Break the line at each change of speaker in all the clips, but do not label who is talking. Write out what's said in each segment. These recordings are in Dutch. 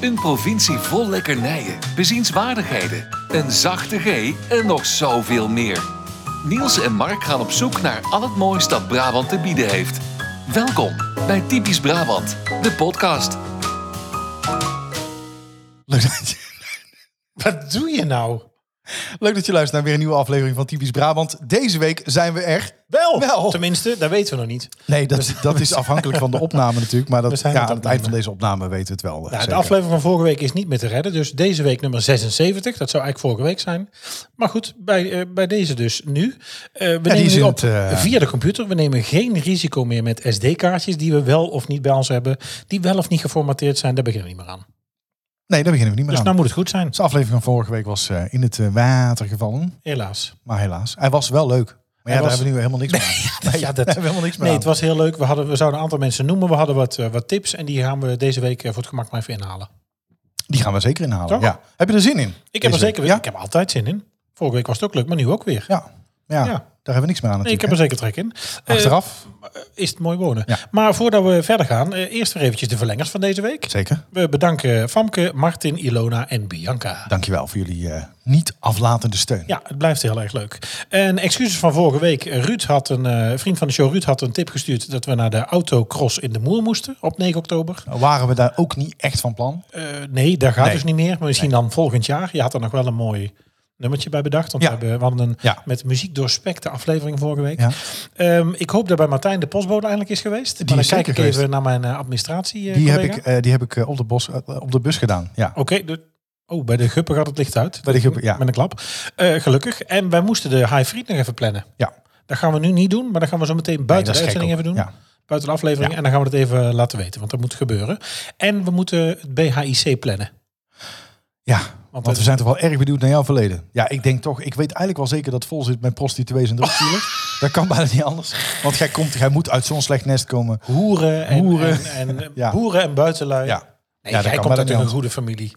Een provincie vol lekkernijen, bezienswaardigheden, een zachte G en nog zoveel meer. Niels en Mark gaan op zoek naar al het moois dat Brabant te bieden heeft. Welkom bij Typisch Brabant, de podcast.
Leuk dat je,
Wat doe je nou?
leuk dat je luistert naar weer een nieuwe aflevering van Typisch Brabant. Deze week zijn we er.
Wel,
Wel.
Tenminste, dat weten we nog niet.
Nee, dat, dat is afhankelijk van de opname natuurlijk. Maar
We
dat,
zijn
ja,
aan het
aan het eind van deze opname weten we het wel. eh,
Nou, de
zeker.
aflevering van vorige week is niet meer te redden. Dus deze week nummer 76. Dat zou eigenlijk vorige week zijn. Maar goed, bij, eh, bij deze dus nu. Eh, we
is
nemen
in
nu op
het, eh,
via de computer. We nemen geen risico meer met SD-kaartjes die we wel of niet bij ons hebben. Die wel of niet geformateerd zijn. Daar beginnen we niet meer aan.
Nee, daar beginnen we niet meer
Dus
aan.
nou moet het goed zijn.
Dus de aflevering van vorige week was eh, in het eh, water gevallen.
Helaas.
Maar helaas, hij was wel leuk. Maar ja,
was-
daar hebben we nu helemaal niks meer aan. Nee,
ja, dat-
daar hebben we helemaal niks meer
Nee,
aan.
het was heel leuk. We, hadden, we zouden een aantal mensen noemen. We hadden wat, eh, wat tips. En die gaan we deze week eh, voor het gemak maar even inhalen.
Die gaan we zeker inhalen.
Toch?
Ja. Heb je er zin in?
Ik heb er
Deze
zeker
week? Ja?
Ik heb er altijd zin in. Vorige week was het ook leuk, maar nu ook weer.
Ja. Ja.
Ja.
daar hebben we niks meer aan
Nee, ik
natuurlijk.
heb er zeker trek in.
hè?
Eh,
Achteraf,
is het mooi wonen.
Ja.
Maar voordat we verder gaan, eh, eerst weer eventjes de verlengers van deze week.
zeker.
We bedanken Famke, Martin, Ilona en Bianca.
Dankjewel voor jullie eh, niet aflatende steun.
Ja, het blijft heel erg leuk. En excuses van vorige week. Ruud had een eh, vriend van de show, Ruud had een tip gestuurd dat we naar de autocross in de Moer moesten op 9 oktober.
Nou, Waren we daar ook niet echt van plan?
Eh, nee, daar gaat
Nee.
dus niet meer. Maar misschien dan volgend jaar. Je had er nog wel een mooi nummertje bij bedacht. Want
Ja.
we, hebben, we hadden een
Ja.
met muziek doorspekte aflevering vorige week.
Ja.
Ehm, ik hoop dat bij Martijn de postbode eindelijk is geweest. maar dan
is
kijk
zeker
ik even
geweest.
naar mijn eh, administratie. eh,
Die heb
collega.
ik, eh, die heb ik eh, op, de bos, eh, op de bus gedaan. Ja.
Oké, de- oh, bij de guppen gaat het licht uit.
Bij de guppen, ja.
Met een klap. Eh, gelukkig. En wij moesten de high fried nog even plannen.
ja.
Dat gaan we nu niet doen, maar dat gaan we zo meteen
Nee,
buiten
dat is
de uitzending
gek
even doen.
ook. Ja.
Buiten de aflevering. En dan gaan we dat even laten weten, want dat moet gebeuren. En we moeten het BHIC plannen.
Ja, want,
het-
we zijn toch wel erg benieuwd naar jouw verleden. Ja, ik denk toch, ik weet eigenlijk wel zeker dat het vol zit met prostituees en drugsdealers. dat kan bijna niet anders. Want jij, komt, jij moet uit zo'n slecht nest komen.
Hoeren en,
Hoeren.
en, en,
Ja.
boeren en buitenlui.
Ja.
Nee,
Ja, dat
jij
kan
komt
bijna
uit
niet
een
anders.
goede familie.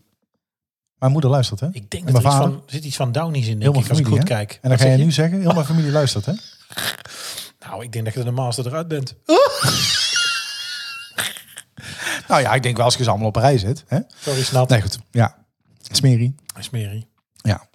Mijn moeder luistert, hè?
Ik denk
En
dat er
mijn
iets
vader.
van, zit iets van Downies in, denk
Heel mijn
ik, als ik
familie,
goed
hè?
kijk.
En dan
Wat
ga je
zeg
nu zeggen, heel mijn familie luistert, hè?
Nou, ik denk dat je de master eruit bent.
Nou ja, ik denk wel als je ze allemaal op een rij zet. Hè?
Sorry, snap.
Nee, goed. Ja. Smerie.
Smerie.
Ja.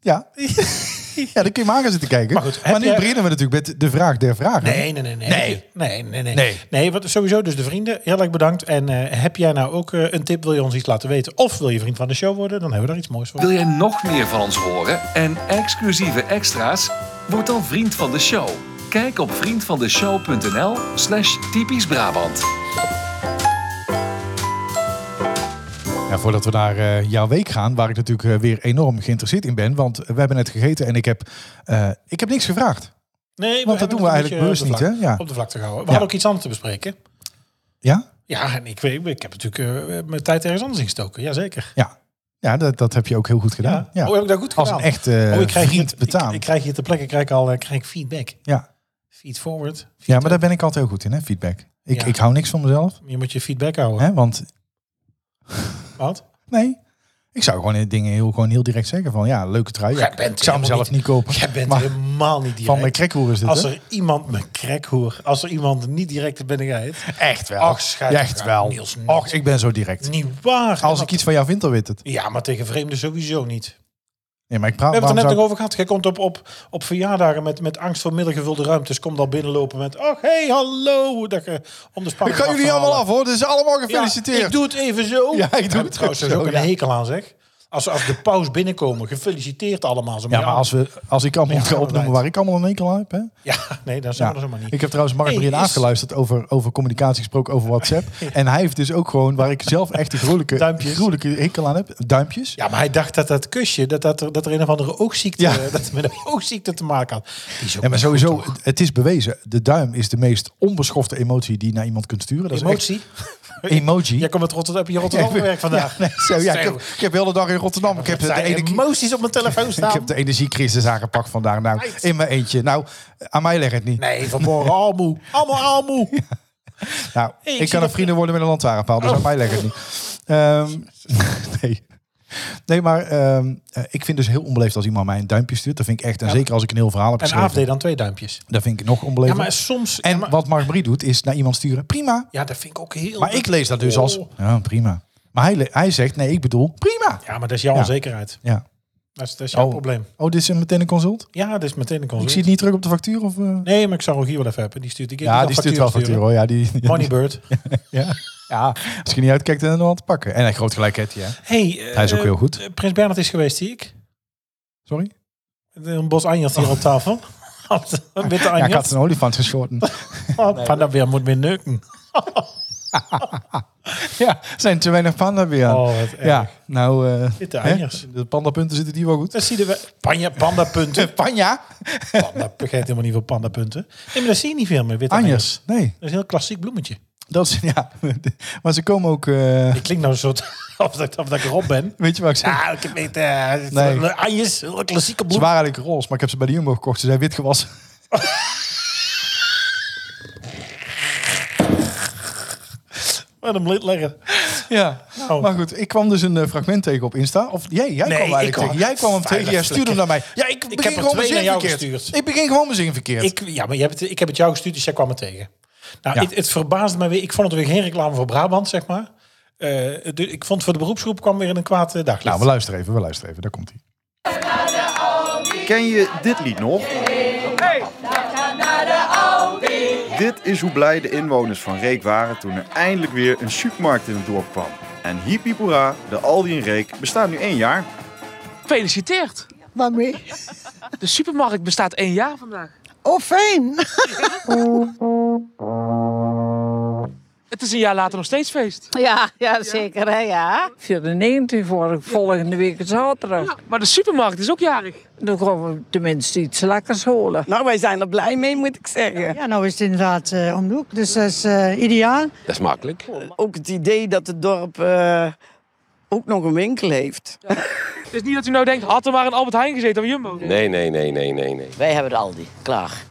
Ja. ja, dan kun je maar aan gaan zitten kijken.
Maar
Maar,
goed, heb
nu
jij-
beginnen we natuurlijk met de vraag der vragen.
Nee, nee, nee. Nee,
Nee.
nee, nee. nee.
Nee.
Nee, wat, sowieso dus de vrienden. Heel erg bedankt. En eh, heb jij nou ook eh, een tip? Wil je ons iets laten weten? Of wil je vriend van de show worden? Dan hebben we daar iets moois voor.
Wil jij nog meer van ons horen en exclusieve extra's? Word dan vriend van de show. Kijk op vriendvandeshow.nl slash typisch Brabant.
Ja, voordat we naar eh, jouw week gaan, waar ik natuurlijk eh, weer enorm geïnteresseerd in ben. Want we hebben net gegeten en ik heb, eh, ik heb niks gevraagd.
Nee,
Want dat doen
hebben
we
het een
eigenlijk bewust
beetje
niet,
op de
hè?
vlak-
Ja.
Op de vlakte houden. We
Ja.
hadden ook iets anders te bespreken.
Ja?
Ja, en ik, weet, ik heb natuurlijk eh, mijn tijd ergens anders ingestoken. Jazeker.
Ja. Ja, dat, dat heb je ook heel goed gedaan. Ja.
Oh, heb ik dat goed
Als
gedaan?
een echt eh,
oh, ik krijg
vriend
hier,
betaam.
Ik, ik krijg hier ter plekke krijg ik al eh, krijg ik feedback.
ja.
Feed forward.
ja, maar daar ben ik altijd heel goed in, hè, feedback. Ik,
Ja.
ik hou niks van mezelf,
Je moet je feedback houden.
hè, want
Wat?
nee, ik zou gewoon eh, dingen heel, gewoon heel direct zeggen van ja, leuke trui. Ja,
Jij bent
ik zou hem
helemaal
zelf
niet-
niet, kopen.
Jij bent
maar
helemaal niet direct.
van mijn krekhoer is dit,
Als
hè?
er iemand me krek hoor, als er iemand niet direct is, ben ik het.
Echt wel.
Ach, schijt
Echt
eraan,
wel.
Niels, niet.
Och, ik ben zo direct.
Niet waar.
Als ik iets van jou vind, dan weet het.
Ja, maar tegen vreemden sowieso niet.
Nee, maar ik praat
We hebben het er net
waarom
nog over gehad. Jij komt op, op, op verjaardagen met, met angst voor middengevulde ruimtes. Komt al binnenlopen met, oh hey, hallo. Dat je om de
zou-
spanning
Ik ga jullie allemaal af,
halen.
hoor. Het is allemaal
Ja,
gefeliciteerd.
ik doe het even zo.
Ja, ik doe
Daar
het
heb trouwens dus
ook zo,
ook een
ja.
hekel aan, zeg. Als, als de paus binnenkomen, gefeliciteerd allemaal. Zo
Ja, maar als, we, als ik allemaal
Ja,
ga opnoemen
right.
waar ik allemaal een enkel aan heb. Hè?
Ja, nee, dat zijn
Ja.
we er zomaar niet.
Ik heb trouwens Mark
Hey,
Brien
is-
aangeluisterd over, over communicatie gesproken over WhatsApp. En hij heeft dus ook gewoon, waar ik zelf echt de gruwelijke,
Duimpjes.
gruwelijke hekel aan heb, duimpjes.
Ja, maar hij dacht dat dat kusje, dat, dat, er, dat er een of andere oogziekte,
Ja.
dat het met een oogziekte te maken had. Die is ook
Ja, maar
niet goed,
sowieso,
toch?
het- het is bewezen. De duim is de meest onbeschofte emotie die je naar iemand kunt sturen. Dat is
Emotie.
echt- emoji.
Jij komt uit Rotterdam, heb je Rotterdam gewerkt vandaag.
Ja, nee, zo, ja, ik, heb,
Zo.
ik heb de hele dag in Rotterdam. Ik heb, de
Zijn
ene,
emoties op mijn telefoon
ik
staan.
heb de energiecrisis aangepakt vandaag. Nou, in mijn eentje. Nou, aan mij leg het niet.
Nee, vanmorgen almoe. Allemaal almoe.
Nou,
Hey,
ik,
ik zie
kan
dat- Oh.
een vrienden worden met een lantaarnpaal, dus aan mij leg het niet. Ehm, nee. nee, maar ehm, eh, ik vind dus heel onbeleefd als iemand mij een duimpje stuurt. Dat vind ik echt, en zeker als ik een heel verhaal heb
En
geschreven.
AFD dan twee duimpjes.
Dat vind ik nog
Ja,
onbeleefd.
maar soms... ja,
en
maar-
wat Mark Marie doet, is naar iemand sturen. Prima.
Ja, dat vind ik ook heel...
Maar ik lees dat dus als...
Oh.
Ja, prima. Maar hij, le- hij zegt, nee, ik bedoel, prima.
Ja, maar dat is jouw
Ja.
onzekerheid.
Ja.
Dat is, dat is jouw
Oh.
probleem.
Oh, dit is een- meteen een consult?
Ja, dat is meteen een
Ik
consult.
zie het niet terug op de factuur? Of, eh?
Nee, maar ik zou Rogier wel even hebben. Die stuurt ik
ja, die stuurt wel factuur hoor. Ja, die, die-
Moneybird.
Ja. ja, als je niet uitkijkt, dan wel te pakken. En hij groot gelijk heeft hij, hè.
Hey,
Hij is ook
eh,
heel goed.
eh, Prins Bernhard is geweest, zie ik.
Sorry?
Een bos anjert hier op tafel.
Oh.
Een witte
Ja, ik had
anjert.
zijn olifant geschorten.
Van dat weer moet meer neuken.
Ah. ja, er zijn te weinig panda weer aan.
Oh, wat erg.
ja, nou... eh,
Witte
hè?
anjers.
De pandapunten zitten hier wel goed.
Dat zie je wel. Panja, pandapunten.
Panja?
Panda, ik vergeet helemaal niet veel pandapunten. Nee, maar dat zie je niet veel meer. Witte anjers.
Anjers. Nee,
Dat is een heel klassiek bloemetje.
dat is... Ja, maar ze komen ook... eh,
Ik klink nou een soort... Of dat, of dat ik erop ben.
weet je wat ik zeg?
Ja, ik heb niet... eh,
Nee.
Anjers, een klassieke
Ze
bloem.
waren eigenlijk roze, maar ik heb ze bij de Jumbo gekocht. Ze zijn wit gewassen.
Wat een blind leggen.
Ja,
Nou.
maar goed, ik kwam dus een eh, fragment tegen op Insta. Of jij, jij
Nee,
kwam eigenlijk
ik kwam-
tegen. Jij kwam hem tegen, jij
Veilig
stuurde hem naar mij. Ja, ik,
Ik
begin
heb er
gewoon mijn
twee
zin
naar jou
verkeerd.
gestuurd.
Ik begin gewoon mijn zin verkeerd.
Ik, ja, maar je hebt het, ik heb het jou gestuurd, dus jij kwam er tegen. Nou,
Ja.
het, het verbaasde me weer. Ik vond het weer geen reclame voor Brabant, zeg maar. Eh, de- ik vond voor de beroepsgroep kwam weer in een kwaad eh, daglicht.
Nou, we luisteren even, we luisteren even. Daar komt hij.
Ken je dit lied nog? Dit is hoe blij de inwoners van Reek waren toen er eindelijk weer een supermarkt in het dorp kwam. En hiep hiep hoera, de Aldi in Reek bestaat nu één jaar.
Gefeliciteerd.
Waarmee?
De supermarkt bestaat één jaar vandaag.
Oh, fijn.
Het is een jaar later nog steeds feest.
Ja, ja zeker, hè, ja.
94 voor volgende week zaterdag.
Maar de supermarkt is ook jarig.
Dan gaan we tenminste iets lekkers holen.
Nou, wij zijn er blij mee, moet ik zeggen.
Ja, nou is het inderdaad eh, om de hoek, dus dat is eh, ideaal.
Dat is makkelijk.
Ook het idee dat het dorp eh, ook nog een winkel heeft.
Het is niet dat u nou denkt, had er maar een Albert Heijn gezeten of een Jumbo.
Nee, nee, nee, nee, nee, nee.
Wij hebben de Aldi, klaar.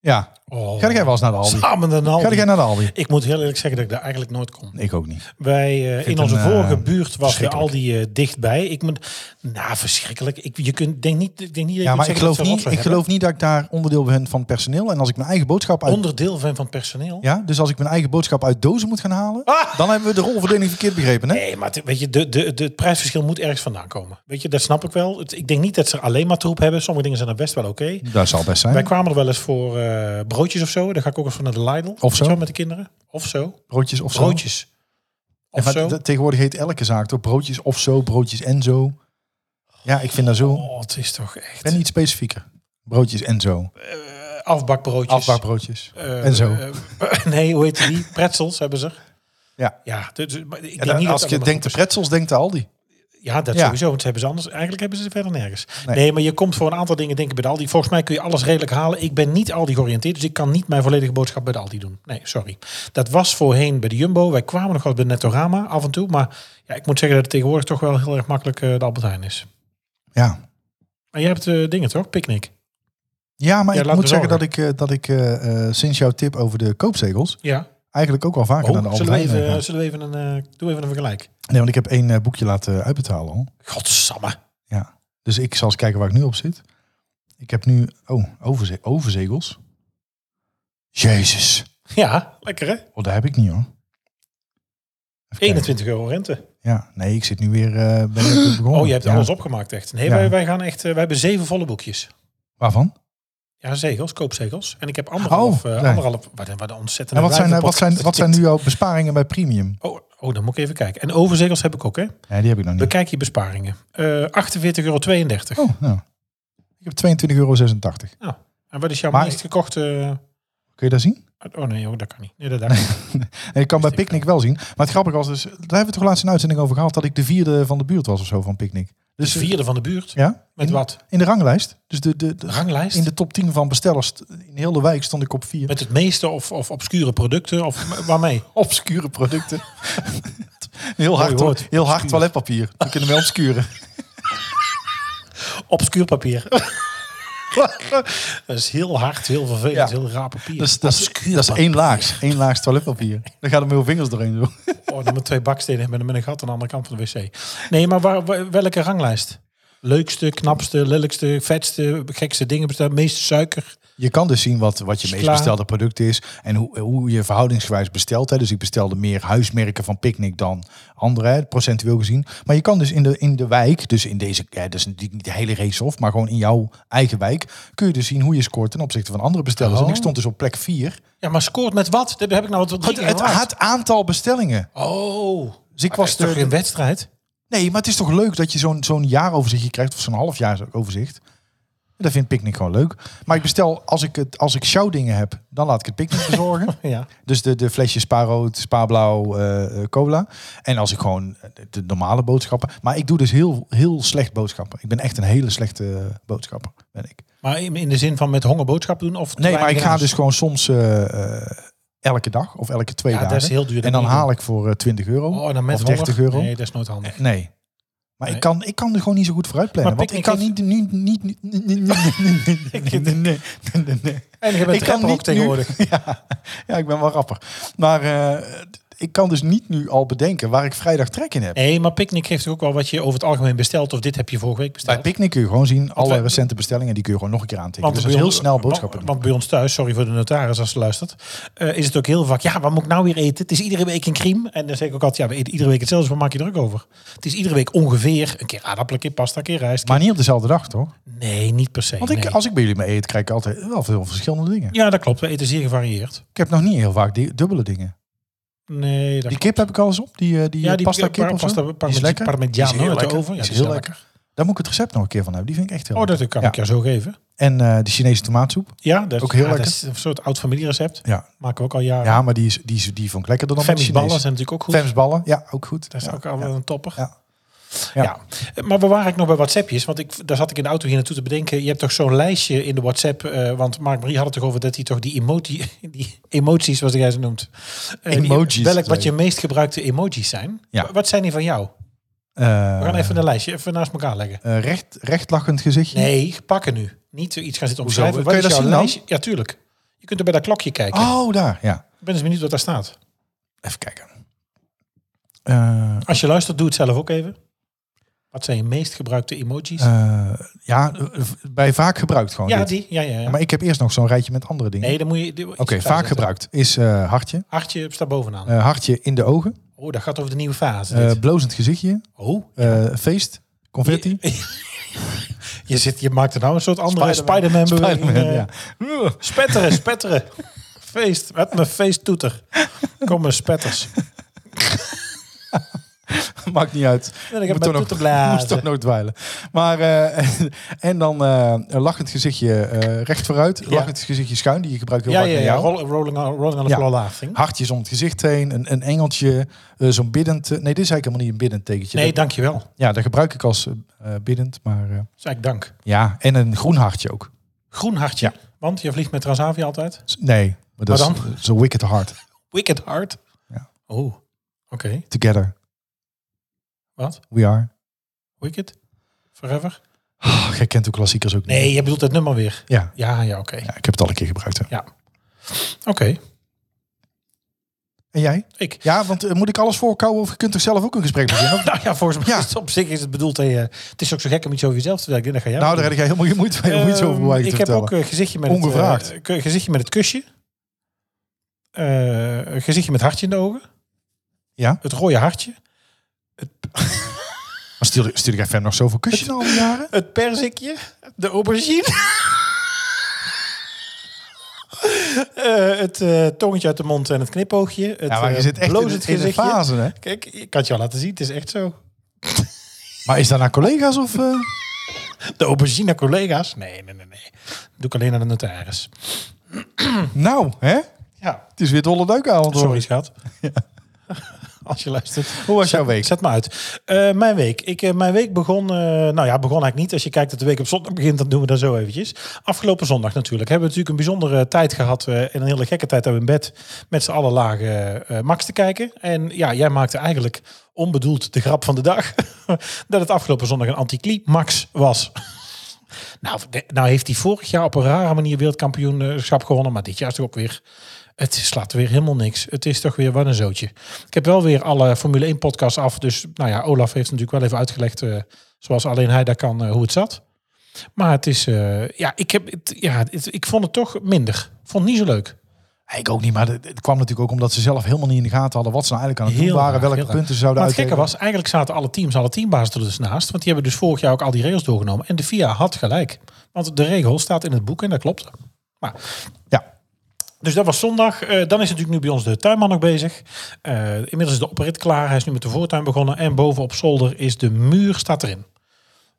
Ja,
Oh,
ga jij wel eens naar de Aldi?
samen de Aldi.
Ga jij naar de Aldi?
Ik moet heel eerlijk zeggen dat ik daar eigenlijk nooit kom.
Ik ook niet.
Wij, eh,
vind
in onze
hem, eh,
vorige buurt was de
verschrikkelijk.
Aldi eh, dichtbij. Ik moet, nou, verschrikkelijk. Ik, je kunt, denk niet, ik denk niet dat je
Ja,
kunt
maar
zeggen
ik geloof,
dat ze
niet,
rotzooi
ik geloof niet dat ik daar onderdeel ben van personeel. En als ik mijn eigen boodschap
hebben.
uit...
onderdeel van van het personeel.
Ja, dus als ik mijn eigen boodschap uit dozen moet gaan halen... dan hebben we de rolverdeling verkeerd begrepen, hè?
Ah! Nee, maar het- weet je, de, de, de, het prijsverschil moet ergens vandaan komen. Weet je, dat snap ik wel. Het- ik denk niet dat ze er alleen maar troep hebben. Sommige dingen zijn er best wel oké.
Dat zal best
Wij
zijn.
kwamen er wel eens voor eh, broodjes of zo. Daar ga ik ook eens voor naar de Lidl. Weet
zo.
je wel, Met de kinderen. Of zo.
Broodjes of zo.
Broodjes.
En
Of
maar
zo.
d- Tegenwoordig heet elke zaak toch broodjes of zo, broodjes en zo. Ja, ik vind dat zo.
Oh, het is toch
Ik
echt.
ben niet specifieker. Broodjes en zo.
Eh, Afbakbroodjes.
Afbakbroodjes.
Eh,
en zo.
eh, nee, hoe heet die? Pretzels hebben ze. er.
Ja.
Ja, dus, maar ik
En
denk niet
als
dat
je
allemaal
denkt de pretzels, denkt de Aldi.
Ja, dat
Ja.
sowieso. Want ze hebben ze anders. Eigenlijk hebben ze het verder nergens.
Nee.
Nee. maar je komt voor een aantal dingen denk ik bij de Aldi. Volgens mij kun je alles redelijk halen. Ik ben niet Aldi georiënteerd, dus ik kan niet mijn volledige boodschap bij de Aldi doen. Nee, sorry. Dat was voorheen bij de Jumbo. Wij kwamen nog wel bij Nettorama af en toe. Maar ja, ik moet zeggen dat het tegenwoordig toch wel heel erg makkelijk eh, de Albert Heijn is.
Ja.
Maar jij hebt eh, dingen toch? Picnic.
Ja, maar
Ja,
ik
laat
moet
me
zeggen dat
zorgen.
ik, eh, dat ik eh, eh, sinds jouw tip over de koopzegels
Ja.
eigenlijk ook wel vaker naar de
Oh,
Albert
zullen, we
Heijn
even,
ga.
zullen we even een, eh, doe even een vergelijk?
Nee, want ik heb één eh, boekje laten uitbetalen al.
Godsamme.
Ja. Dus ik zal eens kijken waar ik nu op zit. Ik heb nu, oh, overze overzegels. Jezus.
Ja, lekker hè?
Oh, daar heb ik niet hoor. Even kijken.
21 euro rente.
Ja, nee, ik zit nu weer. eh, ben ik weer begonnen.
Oh, je hebt
Ja.
alles opgemaakt echt. Nee,
Ja.
wij, wij gaan echt. eh, wij hebben zeven volle boekjes.
Waarvan?
Ja, zegels, koopzegels. En ik heb anderhalf,
Oh,
eh,
nee.
anderhalf wat, een- wat een ontzettende
En wat zijn, eh, wat,
wijvenpodcast
zijn,
is
wat zijn
dit.
nu jouw besparingen bij premium?
Oh, oh, dan moet ik even kijken. En overzegels heb ik ook, hè?
Ja, die heb ik nog niet.
Bekijk je besparingen. Eh 48,32 euro.
Oh, nou. Ik heb 22,86 euro. Kun
En wat is jouw
Maar-
meest gekochte...
je dat zien?
Oh nee, ook dat kan niet. Nee, dat, dacht ik.
Nee, ik kan bij Picnic wel zien. Maar het grappige was dus, daar hebben we toch laatst een uitzending over gehad, dat ik de vierde van de buurt was of zo van Picnic.
Dus
Dus
vierde van de buurt.
Ja,
Met
in,
wat?
in de ranglijst. Dus de, de, de-
Ranglijst?
in de top 10 van bestellers t- in heel de wijk stond ik op vier.
Met het meeste of, of obscure producten? Of waarmee?
obscure producten. heel hard,
woord.
hoor. heel hard toiletpapier. We kunnen wel obscuren.
Obscuur papier. dat is heel hard, heel vervelend,
Ja.
heel raar papier.
Dat is, dat is, dat is één laags. Eén laags toiletpapier. Dan gaat er met vingers doorheen. Zo.
Oh, dan met twee bakstenen met, een- met een gat aan de andere kant van de wc. Nee, maar waar, waar- welke ranglijst? leukste, knapste, lelijkste, vetste, gekste dingen bestellen. Meeste suiker.
Je kan dus zien wat, wat je
Is
meest
klaar.
bestelde product is en hoe, hoe je verhoudingsgewijs bestelt. Hè. Dus ik bestelde meer huismerken van Picnic dan andere, hè, procentueel gezien. Maar je kan dus in de, in de wijk, dus in deze, ja, dat is natuurlijk niet de hele race of, maar gewoon in jouw eigen wijk, kun je dus zien hoe je scoort ten opzichte van andere bestellers. En ik stond dus op plek 4.
Ja, maar scoort met wat? Dat heb ik nou wat
Het, het, het aantal bestellingen.
Oh.
Dus ik
Was
was
toch
de-
geen wedstrijd?
Nee, maar het is toch leuk dat je zo'n zo'n jaaroverzichtje krijgt of zo'n halfjaarsoverzicht. Dat vindt Picnic gewoon leuk. Maar ik bestel, als ik, het, als ik showdingen heb, dan laat ik het Picnic bezorgen.
Ja.
Dus de, de flesjes spa rood, spa blauw, eh, eh, cola. En als ik gewoon eh, de normale boodschappen. Maar ik doe dus heel, heel slecht boodschappen. Ik ben echt een hele slechte boodschapper, ben ik.
Maar in in de zin van met honger boodschappen doen? Of te
Nee, maar ik
weinig
ga
anders?
dus gewoon soms eh, eh, elke dag of elke twee
Ja, dat
dagen.
is heel duur.
en dan
Dat moet
haal ik voor eh, 20 euro
Oh, dan met
of 30
honger?
euro.
Nee, dat is nooit handig.
Nee. Maar
Nee.
Ik, kan, ik kan er gewoon niet zo goed vooruit plannen.
Maar
Want ik kan niet... nu niet, niet, niet- niet- nee, nee, nee, nee.
En je bent
Ik kan
rapper ook
niet nu-
tegenwoordig.
Ja, ja, ik ben wel rapper. Maar eh, ik kan dus niet nu al bedenken waar ik vrijdag trek in heb.
Nee, maar Picnic geeft ook wel wat je over het algemeen bestelt. Of dit heb je vorige week
Bij
besteld.
Picnic kun je gewoon zien alle
wij-
recente bestellingen. Die kun je gewoon nog een keer aantikken. Dus dat is
bij
heel
ons-
snel boodschappen
want,
doen.
want bij ons thuis, sorry voor de notaris als ze luistert, eh, is het ook heel vaak, ja, wat moet ik nou weer eten? Het is iedere week een crème. En dan zeg ik ook altijd, ja, we eten iedere week hetzelfde, dus waar maak je druk over? Het is iedere week ongeveer een keer aardappelen, een keer pasta, een keer rijst.
Maar niet op dezelfde dag, toch?
nee, niet per se.
Want ik,
nee.
als ik bij jullie mee eet, krijg ik altijd wel veel verschillende dingen.
Ja, dat klopt. We eten zeer gevarieerd.
Ik heb nog niet heel vaak die, dubbele dingen.
Nee, dat
Die kip heb ik al eens op. Die, eh, die,
Ja,
ja,
die
pasta
par-
kip of zo.
pasta-
Die is
parmigiano-
lekker.
parmigiano
Die is heel
uit de
lekker.
oven. Ja,
Die is heel lekker. Daar moet ik het recept nog een keer van hebben. Die vind ik echt heel
Oh,
lekker.
dat kan
Ja.
ik jou zo geven.
En eh, de Chinese tomaatsoep.
Ja, dat,
Ook heel
ja, dat
lekker.
is een soort oud familierecept.
Ja,
Maken we ook al jaren.
ja maar die, is, die, is, die vond ik lekkerder dan de
Family's ballen
Chinese.
zijn natuurlijk ook goed.
Femsballen, ja, ook goed.
Dat is
Ja,
ook al
ja.
wel een topper.
Ja.
Ja. Eh,
Ja.
maar we waren ik nog bij WhatsAppjes, want ik, daar zat ik in de auto hier naartoe te bedenken. Je hebt toch zo'n lijstje in de WhatsApp, eh, want Mark Marie had het toch over dat hij toch die, emoti, die emoties, zoals jij ze noemt. eh, die-
Emojis,
Welk
zei
wat je
je.
meest gebruikte emojis zijn.
Ja.
Wa- Wat zijn die van jou?
Eh,
We gaan even een lijstje even naast elkaar leggen.
eh, recht, rechtlachend gezichtje.
Nee, pakken nu. Niet iets gaan zitten
Hoezo?
omschrijven.
Kun je dat
Wat is jouw
zien dan?
lijstje? Ja, tuurlijk. Je kunt er bij dat klokje kijken.
Oh, daar, ja.
Ik ben eens benieuwd wat daar staat.
Even kijken. Eh,
Als je luistert, doe het zelf ook even. Wat zijn je meest gebruikte emojis?
eh, ja, eh, bij vaak gebruikt gewoon.
ja,
dit.
die. Ja, ja, ja.
Maar ik heb eerst nog zo'n rijtje met andere dingen.
Nee, dan moet je... die-
Oké,
iets
vaak
bijzetten.
gebruikt is eh, hartje.
Hartje staat bovenaan.
Eh, hartje in de ogen.
Oh, dat gaat over de nieuwe fase.
Eh,
dit.
blozend gezichtje.
oh,
Eh, feest. Confetti.
je, zit, je maakt er nou een soort andere
Spider-Man.
Spider-Man beweging.
Spider-Man,
eh.
ja.
Spetteren, spetteren. Feest, met mijn feesttoeter. Kom maar spetters.
Maakt niet uit.
En ik
Moet
heb mijn
toch nog-
toeter blazen.
Moest toch nooit dweilen. Maar, eh, en dan eh, een lachend gezichtje eh, recht vooruit. Lachend gezichtje schuin, die je gebruikt heel
Ja,
vaak
ja,
bij
ja.
jou.
roll- Rolling on, rolling on the
Ja.
floor laughing.
Hartjes om het gezicht heen, een, een engeltje, eh, zo'n biddend... eh, nee, dit is eigenlijk helemaal niet een biddend tekentje.
Nee,
dat,
dankjewel.
ja, dat gebruik ik als eh, eh, biddend, maar... eh,
Zeg ik dank.
ja, en een groen hartje ook.
Groen hartje. Want je vliegt met Transavia altijd.
S- Nee, maar dat
Maar
is eh, zo'n wicked hard.
Wicked hard.
Ja.
Oh, oké.
Together,
Wat?
we are.
Wicked? Forever?
Oh, jij kent de klassiekers ook niet.
Nee, je bedoelt dat nummer weer.
Ja,
Ja, ja, oké.
ja, ik heb het al een keer gebruikt. hè.
Oké,
En jij?
ik.
Ja, want eh, moet ik alles voorkouwen of je kunt toch zelf ook een gesprek beginnen? Of-
Nou ja, volgens mij
Ja.
is het op zich is het bedoeld. dat je- het is ook zo gek om iets over jezelf te denken. Dan ga jij
nou, daar heb jij helemaal geen moeite mee om iets over
Ehm,
mij te
Ik heb
vertellen.
ook een gezichtje met
Ongevraagd.
het eh, gezichtje met het kusje. Eh, een gezichtje met hartje in de ogen.
Ja.
Het rode hartje.
Maar stuur, stuur ik FM nog zoveel kusjes al die jaren?
Het perzikje. De aubergine. Eh, het eh, tongetje uit de mond en het knipoogje. Het
Ja, maar je
eh,
zit echt in,
blozend
het in de
gezichtje.
fase, hè?
Kijk, ik kan het je al laten zien. Het is echt zo.
Maar is dat naar collega's of... eh?
De aubergine naar collega's? Nee, nee, nee. nee. Doe ik alleen aan de notaris.
Nou, hè?
Ja,
Het is weer dolle duikavond. hoor.
sorry schat. Als je luistert.
Hoe was jouw week?
Zet me uit. Eh, mijn week. Ik, eh, mijn week begon, eh, nou ja, begon eigenlijk niet. Als je kijkt dat de week op zondag begint, dan doen we dat zo eventjes. Afgelopen zondag natuurlijk. Hebben we natuurlijk een bijzondere tijd gehad. eh, en een hele gekke tijd hebben we in bed met z'n allen lagen eh, Max te kijken. En ja, jij maakte eigenlijk onbedoeld de grap van de dag. dat het afgelopen zondag een anticlimax was. Nou, de- nou heeft hij vorig jaar op een rare manier wereldkampioenschap gewonnen. Maar dit jaar is toch ook weer Het slaat weer helemaal niks. Het is toch weer wat een zootje. Ik heb wel weer alle Formule 1 podcasts af. Dus nou ja, Olaf heeft natuurlijk wel even uitgelegd, eh, zoals alleen hij daar kan, eh, hoe het zat. Maar het is, eh, ja, ik, heb, het, ja het- ik vond het toch minder. Ik vond het niet zo leuk.
Ik ook niet, maar het het kwam natuurlijk ook omdat ze zelf helemaal niet in de gaten hadden wat ze nou eigenlijk aan het doen
Heel
waren,
raar,
welke
heel raar.
punten ze zouden
Maar het
uitgeven.
gekke was, eigenlijk zaten alle teams, alle teambazen er dus naast. Want die hebben dus vorig jaar ook al die regels doorgenomen. En de FIA had gelijk. Want de regel staat in het boek en dat klopt. Maar,
Ja.
dus dat was zondag. Eh, dan is natuurlijk nu bij ons de tuinman nog bezig. Eh, inmiddels is de oprit klaar. Hij is nu met de voortuin begonnen. En boven op zolder is de muur staat erin.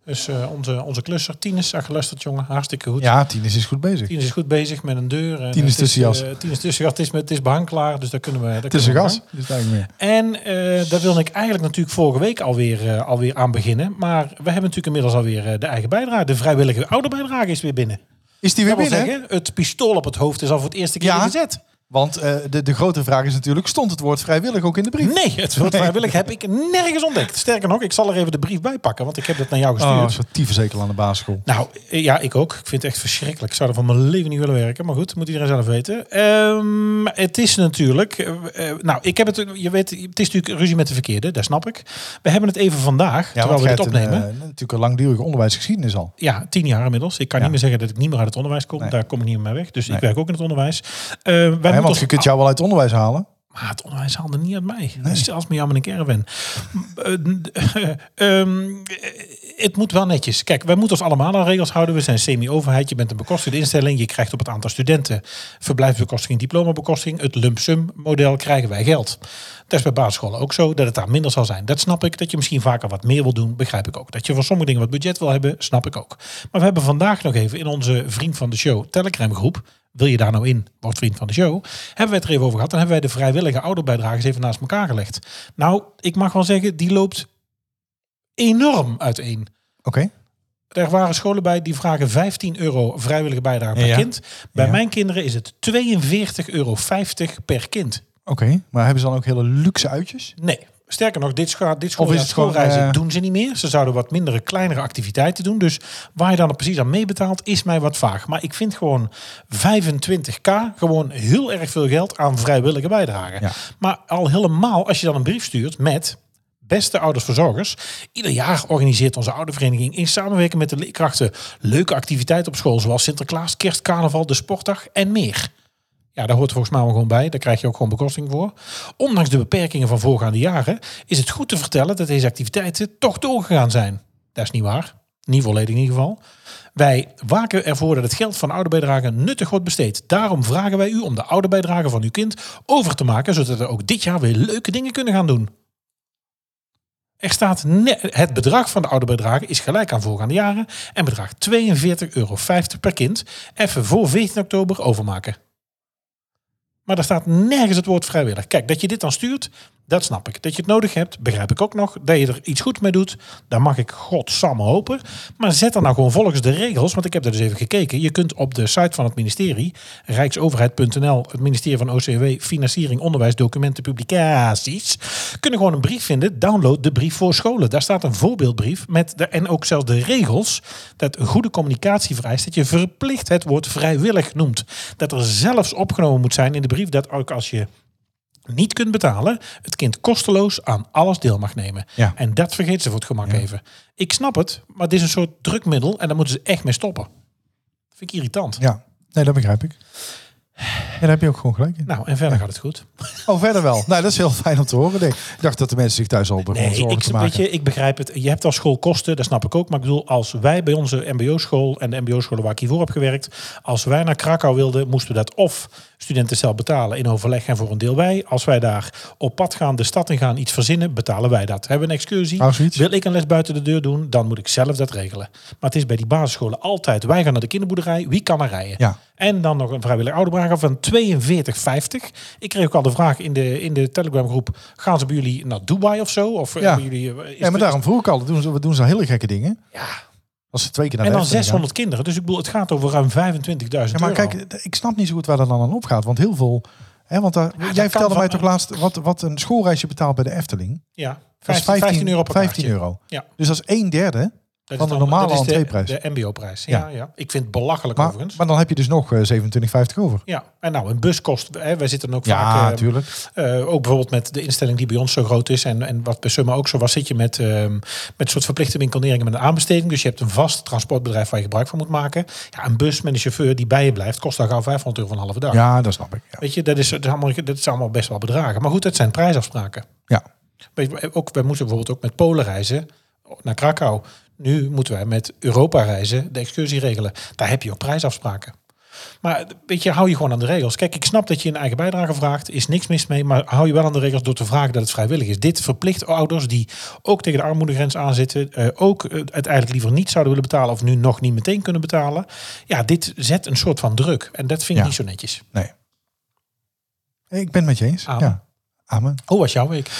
Dus eh, onze, onze klusser, Tines, zag geluisterd jongen. Hartstikke goed.
Ja, Tienis is goed bezig.
Tines is goed bezig met een deur. En
Tines
het is,
tussenjas.
eh, Tines tussenjas. Het is, met- het is behang klaar, dus daar kunnen we... daar
Het is een
kunnen we
gas. Dus het eigenlijk meer.
en eh, daar wilde ik eigenlijk natuurlijk vorige week alweer, eh, alweer aan beginnen. Maar we hebben natuurlijk inmiddels alweer eh, de eigen bijdrage. De vrijwillige ouderbijdrage is weer binnen.
Is die weer
Dat wil
binnen?
zeggen, het pistool op het hoofd is al voor het eerste keer
Ja.
gezet.
Want eh, de, de grote vraag is natuurlijk, stond het woord vrijwillig ook in de brief?
Nee, het woord vrijwillig heb ik nergens ontdekt. Sterker nog, ik zal er even de brief bij pakken, want ik heb dat naar jou gestuurd.
Oh, zo'n tyfushekel aan de basisschool.
Nou, eh, ja, ik ook. Ik vind het echt verschrikkelijk. Ik zou er van mijn leven niet willen werken. Maar goed, moet iedereen zelf weten. Ehm, het is natuurlijk... eh, eh, nou, ik heb het... Je weet, het is natuurlijk ruzie met de verkeerde. Dat snap ik. We hebben het even vandaag,
Ja,
terwijl
want
we
jij
dit
hebt een,
opnemen.
eh, natuurlijk een langdurige onderwijsgeschiedenis al.
Ja, tien jaar inmiddels. Ik kan
Ja.
niet meer zeggen dat ik niet meer uit het onderwijs kom.
Nee.
Daar kom ik niet meer mee weg. Dus
Nee.
ik werk ook in het onderwijs. Eh, wij moeten
Hè, want
ons- Ah,
je kunt jou wel uit het onderwijs halen.
Maar het onderwijs haalde niet uit mij. Dus Zelfs met jou met een caravan. Eh, ehm, eh, het moet wel netjes. Kijk, wij moeten ons allemaal aan regels houden. We zijn semi-overheid. Je bent een bekostigde instelling. Je krijgt op het aantal studenten verblijfsbekostiging, diplomabekostiging. Het lump sum model krijgen wij geld. Dat is bij basisscholen ook zo, dat het daar minder zal zijn. Dat snap ik. Dat je misschien vaker wat meer wil doen, begrijp ik ook. Dat je voor sommige dingen wat budget wil hebben, snap ik ook. Maar we hebben vandaag nog even in onze Vriend van de Show Telegram groep wil je daar nou in, wordt vriend van de show. Hebben we het er even over gehad. Dan hebben wij de vrijwillige ouderbijdragers even naast elkaar gelegd. Nou, ik mag wel zeggen, die loopt enorm uiteen.
Oké.
Er waren scholen bij die vragen 15 euro vrijwillige bijdrage per
Ja.
kind. Bij
Ja.
mijn kinderen is het 42,50 euro per kind.
Oké, maar hebben ze dan ook hele luxe uitjes?
Nee. Sterker nog, dit, scha- dit
Of is
schooljaar
het gewoon,
schoolreizen
eh,
doen ze niet meer. Ze zouden wat mindere, kleinere activiteiten doen. Dus waar je dan precies aan meebetaalt, is mij wat vaag. Maar ik vind gewoon 25k gewoon heel erg veel geld aan vrijwillige bijdragen.
Ja.
Maar al helemaal als je dan een brief stuurt met... Beste oudersverzorgers, ieder jaar organiseert onze oudervereniging in samenwerking met de leerkrachten leuke activiteiten op school, zoals Sinterklaas, Kerst, Carnaval, de Sportdag en meer. Ja, daar hoort volgens mij wel gewoon bij. Daar krijg je ook gewoon bekosting voor. Ondanks de beperkingen van voorgaande jaren is het goed te vertellen dat deze activiteiten toch doorgegaan zijn. Dat is niet waar. Niet volledig in ieder geval. Wij waken ervoor dat het geld van ouderbijdrage nuttig wordt besteed. Daarom vragen wij u om de ouderbijdrage van uw kind over te maken, zodat we ook dit jaar weer leuke dingen kunnen gaan doen. Er staat ne- het bedrag van de ouderbijdrage is gelijk aan voorgaande jaren en bedraagt 42,50 euro per kind. Even voor 14 oktober overmaken. Maar daar staat nergens het woord vrijwillig. Kijk, dat je dit dan stuurt, dat snap ik. Dat je het nodig hebt, begrijp ik ook nog. Dat je er iets goed mee doet, daar mag ik godsamme hopen. Maar zet dan nou gewoon volgens de regels, want ik heb daar dus even gekeken. Je kunt op de site van het ministerie, rijksoverheid.nl, het ministerie van OCW, Financiering, Onderwijs, Documenten, Publicaties, kunnen gewoon een brief vinden. Download de brief voor scholen. Daar staat een voorbeeldbrief met de, en ook zelfs de regels dat goede communicatie vereist dat je verplicht het woord vrijwillig noemt. Dat er zelfs opgenomen moet zijn in de brief dat ook als je niet kunt betalen, het kind kosteloos aan alles deel mag nemen.
Ja.
En dat vergeet ze voor het gemak even. Ik snap het, maar het is een soort drukmiddel en daar moeten ze echt mee stoppen. Dat vind ik irritant.
Ja, nee, dat begrijp ik. Ja, daar heb je ook gewoon gelijk in.
Nou, en verder gaat het goed.
Oh, verder wel. Nou, dat is heel fijn om te horen. denk Ik Ik dacht dat de mensen zich thuis al begonnen
Nee,
zorgen
ik,
te
weet
maken.
je, ik begrijp het. Je hebt als school kosten, dat snap ik ook. Maar ik bedoel, als wij bij onze mbo-school en de mbo-scholen waar ik hiervoor heb gewerkt, als wij naar Krakau wilden, moesten we dat of studenten zelf betalen in overleg en voor een deel wij. Als wij daar op pad gaan, de stad in gaan, iets verzinnen, betalen wij dat. Hebben we een excursie?
Nou, zoiets.
Wil ik een les buiten de deur doen, dan moet ik zelf dat regelen. Maar het is bij die basisscholen altijd, wij gaan naar de kinderboerderij, wie kan er rijden?
Ja.
En dan nog een vrijwillig ouderbrager van 42,50. Ik kreeg ook al de vraag in de, in de Telegramgroep... gaan ze bij jullie naar Dubai of zo? Of eh,
Ja.
hebben jullie, eh, is
Ja, maar
het-
daarom vroeg ik al. dat Doen ze, we doen ze hele gekke dingen.
Ja.
Als ze twee keer naar
En
de
dan
Efteling gaan.
600 kinderen. Dus ik bedoel, het gaat over ruim 25.000
Ja, maar
euro.
kijk, d- ik snap niet zo goed waar dat dan aan opgaat. Want heel veel... Hè, want daar,
dat
jij
kan
vertelde
van-
mij toch laatst wat, wat een schoolreisje betaalt bij de Efteling.
Ja,
Dat is
15, 15 euro per
15
kaartje.
euro.
Ja.
Dus dat is een derde
Dat
Van de normale
dat is
entreeprijs.
De, mbo-prijs.
Ja.
Ja. Ja, Ik vind het belachelijk
Maar,
overigens.
maar dan heb je dus nog eh, 27,50 over.
ja, en nou, een bus kost... Hè, wij zitten ook vaak...
Ja,
eh,
natuurlijk.
eh, ook bijvoorbeeld met de instelling die bij ons zo groot is en, en wat bij Summa ook zo was, zit je met, ehm, met een soort verplichte winkelneringen met een aanbesteding. Dus je hebt een vast transportbedrijf waar je gebruik van moet maken. Ja, een bus met een chauffeur die bij je blijft, kost daar gauw 500 euro van een halve dag.
Ja, dat snap ik. Ja.
Weet je, dat is, dat, is allemaal, dat is allemaal best wel bedragen. Maar goed, dat zijn prijsafspraken.
Ja.
Weet je, ook, wij moesten bijvoorbeeld ook met Polen reizen naar Krakau. Nu moeten wij met Europa reizen, de excursie regelen. Daar heb je ook prijsafspraken. Maar weet je, hou je gewoon aan de regels. Kijk, ik snap dat je een eigen bijdrage vraagt, is niks mis mee. Maar hou je wel aan de regels door te vragen dat het vrijwillig is. Dit verplicht ouders die ook tegen de armoedegrens aanzitten, eh, ook eh, het eigenlijk liever niet zouden willen betalen of nu nog niet meteen kunnen betalen. Ja, dit zet een soort van druk. En dat vind ik
Ja.
niet zo netjes.
Nee. Ik ben het met je eens.
Amen.
Ja. Amen.
Hoe was jouw week?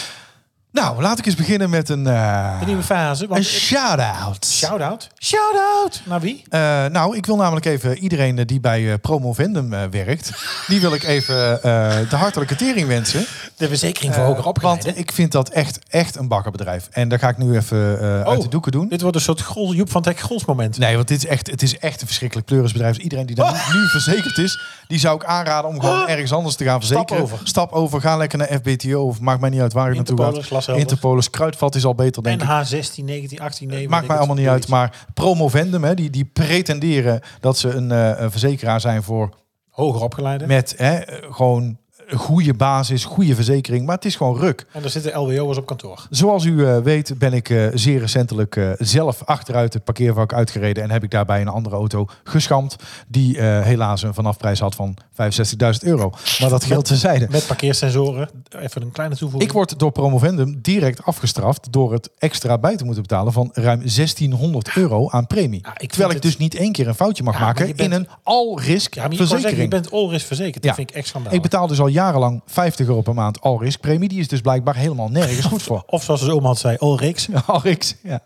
Nou, laat ik eens beginnen met een, eh,
De nieuwe fase.
een
Want,
shout-out.
shout-out.
Shout-out!
Naar wie?
Eh, nou, ik wil namelijk even iedereen eh, die bij eh Promovendum eh, werkt, die wil ik even eh, de hartelijke tering wensen.
De verzekering voor hoger opgeleiden.
Want ik vind dat echt, echt een bakkenbedrijf. En daar ga ik nu even eh, uit
Oh,
de doeken doen.
Dit wordt een soort grol, Joep van Teck Grols moment.
Nee, want dit is echt, het is echt een verschrikkelijk pleurisbedrijf. Dus iedereen die daar nu, nu verzekerd is, die zou ik aanraden om gewoon ergens anders te gaan verzekeren.
over.
Stap over, ga lekker naar FBTO of maakt mij niet uit waar je naartoe
Interpolis,
gaat.
Glashelder.
Interpolis, Kruidvat is al beter denk ik.
NH 16, 19, 18, 9.
Maakt mij allemaal niet uit, maar Promovendum, hè, die, die pretenderen dat ze een, eh, een verzekeraar zijn voor
Hoger opgeleiden.
met hè, eh, gewoon een goede basis, goede verzekering, maar het is gewoon ruk.
En daar zitten LWO'ers op kantoor.
Zoals u eh, weet ben ik eh, zeer recentelijk eh, zelf achteruit het parkeervak uitgereden en heb ik daarbij een andere auto geschampt die eh, helaas een vanafprijs had van 65.000 euro. Maar dat geldt tezijde.
Met parkeersensoren. Even een kleine toevoeging.
Ik word door Promovendum direct afgestraft door het extra bij te moeten betalen van ruim 1600 euro aan premie.
Ja, ik vind
Terwijl ik
het-
dus niet één keer een foutje mag
Ja, maar
maken
je bent-
in een all-risk
ja, maar je, kan zeggen, je
verzekering.
bent all-risk verzekerd. Dat
Ja.
vind ik echt schandaal.
Ik betaal dus al jarenlang 50 euro per maand all-risk premie. Die is dus blijkbaar helemaal nergens goed voor.
Of zoals de oma had zei, all-risk.
Arix, Oh, ja.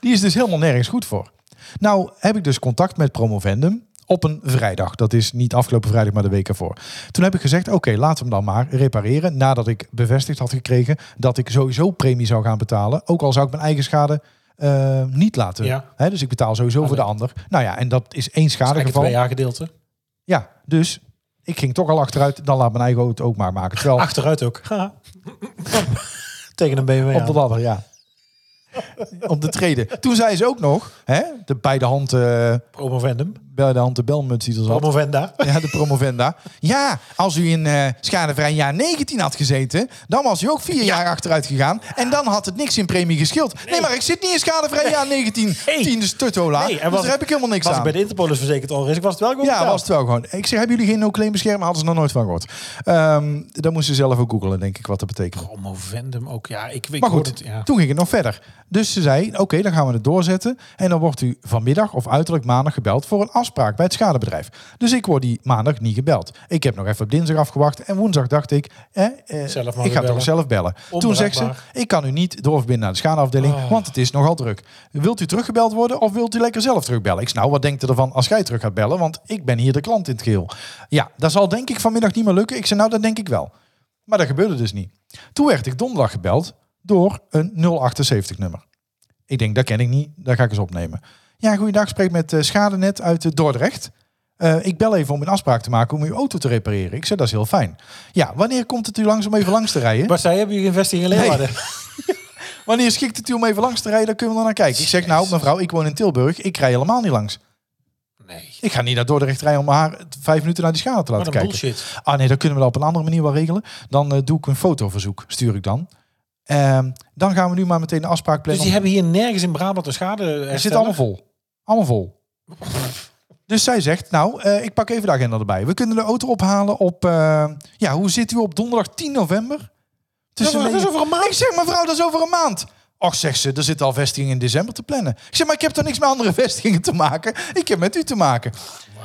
Die is dus helemaal nergens goed voor. Nou heb ik dus contact met Promovendum op een vrijdag. Dat is niet afgelopen vrijdag, maar de week ervoor. Toen heb ik gezegd, oké, laten we hem dan maar repareren. Nadat ik bevestigd had gekregen dat ik sowieso premie zou gaan betalen. Ook al zou ik mijn eigen schade eh, niet laten.
Ja.
Hè, dus ik betaal sowieso voor de ander. Nou ja, en dat is één
Eigenlijk het
schadegeval.
gedeelte.
Ja, dus ik ging toch al achteruit. Dan laat mijn eigen auto ook maar maken. Terwijl
Achteruit ook. Ha. Tegen een BMW
Op de
aan.
ladder, ja. Op de treden. Toen zei ze ook nog, hè, de bij de hand, eh,
Promovendum.
bij de, hand de belmuts die er zat.
Promovenda.
Ja, de promovenda. Ja, als u in eh schadevrij jaar 19 had gezeten, dan was u ook vier jaar achteruit gegaan. En dan had het niks in premie geschild. Nee, maar ik zit niet in schadevrij jaar 19.
Nee.
10 is tuttola.
Nee,
dus
en was
daar
ik-
heb ik helemaal niks
Was
aan.
ik bij de Interpolis verzekerd all-risk? Was het wel goed
Ja,
betaald?
was het wel gewoon. Ik zeg, hebben jullie geen no-claim bescherming? Hadden ze nog nooit van gehoord. Ehm dan moesten ze zelf ook googelen, denk ik, wat dat betekent.
Promovendum ook. Ja, ik, ik
Maar goed,
hoorde het, ja.
toen ging het nog verder. Dus ze zei, oké, dan gaan we het doorzetten. En dan wordt u vanmiddag of uiterlijk maandag gebeld voor een afspraak bij het schadebedrijf. Dus ik word die maandag niet gebeld. Ik heb nog even op dinsdag afgewacht. En woensdag dacht ik, hè, eh,
Zelf maar
ik
weer
ga toch
bellen.
zelf bellen. Toen zegt ze,
Onbereikbaar. Oh.
ik kan u niet doorverbinden naar de schadeafdeling, want het is nogal druk. Wilt u teruggebeld worden of wilt u lekker zelf terugbellen? Ik zeg, nou, wat denkt u ervan als jij terug gaat bellen? Want ik ben hier de klant in het geheel. Ja, dat zal denk ik vanmiddag niet meer lukken. Ik zei, nou, dat denk ik wel. Maar dat gebeurde dus niet. Toen werd ik donderdag gebeld door een 078-nummer. Ik denk, dat ken ik niet, daar ga ik eens opnemen. Ja, goeiedag, spreek met eh, Schadenet uit eh, Dordrecht. Eh, ik bel even om een afspraak te maken om uw auto te repareren. Ik zei, dat is heel fijn. Ja, wanneer komt het u langs om even langs te rijden?
Maar zij hebben je investing in Leeuwarden.
Wanneer schikt het u om even langs te rijden? Daar kunnen we dan naar kijken. Ik zeg, nou mevrouw, ik woon in Tilburg. Ik rij helemaal niet langs.
Nee.
Ik ga niet naar Dordrecht rijden om haar vijf minuten naar die schade te
Wat
laten
een
kijken.
bullshit.
Ah nee, dat kunnen we dat op een andere manier wel regelen. Dan eh, doe ik een fotoverzoek, stuur ik dan. Ehm, dan gaan we nu maar meteen de afspraak
Dus
plannen.
die hebben hier nergens in Brabant een schade
Er
herstellen.
zit allemaal vol. Allemaal vol. Dus zij zegt, nou, eh, ik pak even de agenda erbij. We kunnen de auto ophalen op... eh, ja, hoe zit u op donderdag 10 november? Tussen
Dat is over een maand.
Ik zeg, mevrouw, dat is over een maand. Och, zegt ze, er zitten al vestigingen in december te plannen. Ik zeg, maar ik heb toch niks met andere vestigingen te maken? Ik heb met u te maken.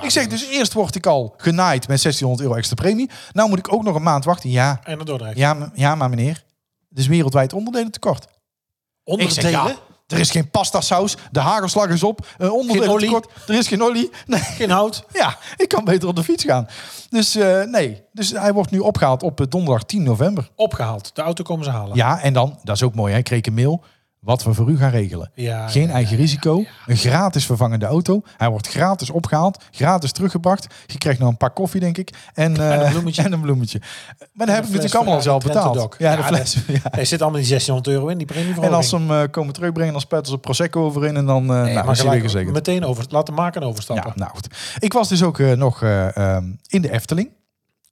Ik zeg, dus eerst word ik al genaaid met 1600 euro extra premie. Nou moet ik ook nog een maand wachten. Ja,
En naar Dordrecht.
ja, me- ja maar meneer, het is wereldwijd onderdelen tekort. Ik zeg,
Onderdelen?
ja, er is geen pasta saus, de hagelslag is op, eh, onderdelen
Geen olie?
tekort, er is geen olie. Nee,
Geen hout.
ja, ik kan beter op de fiets gaan. Dus eh, nee, dus hij wordt nu opgehaald op eh, donderdag 10 november.
Opgehaald. De auto komen ze halen.
Ja, en dan, dat is ook mooi, hè, kreeg ik een mail. wat we voor u gaan regelen.
Ja,
Geen
ja, ja,
eigen
ja,
risico,
ja.
een gratis vervangende auto. Hij wordt gratis opgehaald, gratis teruggebracht. Je krijgt nog een pak koffie, denk ik. En, eh,
een bloemetje.
en een bloemetje. Maar dat heb ik
fles
natuurlijk allemaal al zelf
Ferrari
betaald.
Trento Doc.
Ja, de
Ja,
fles. ja.
Er zit allemaal die 1600 euro in, die premieverhoging.
En als ze hem eh, komen terugbrengen, dan spuiten ze Prosecco over in. En dan eh nou,
Nee,
is
maar
hij weer
gelijk,
gezegend.
meteen over, laten maken en overstappen.
Ja, nou goed. Ik was dus ook eh, nog eh, ehm, in de Efteling.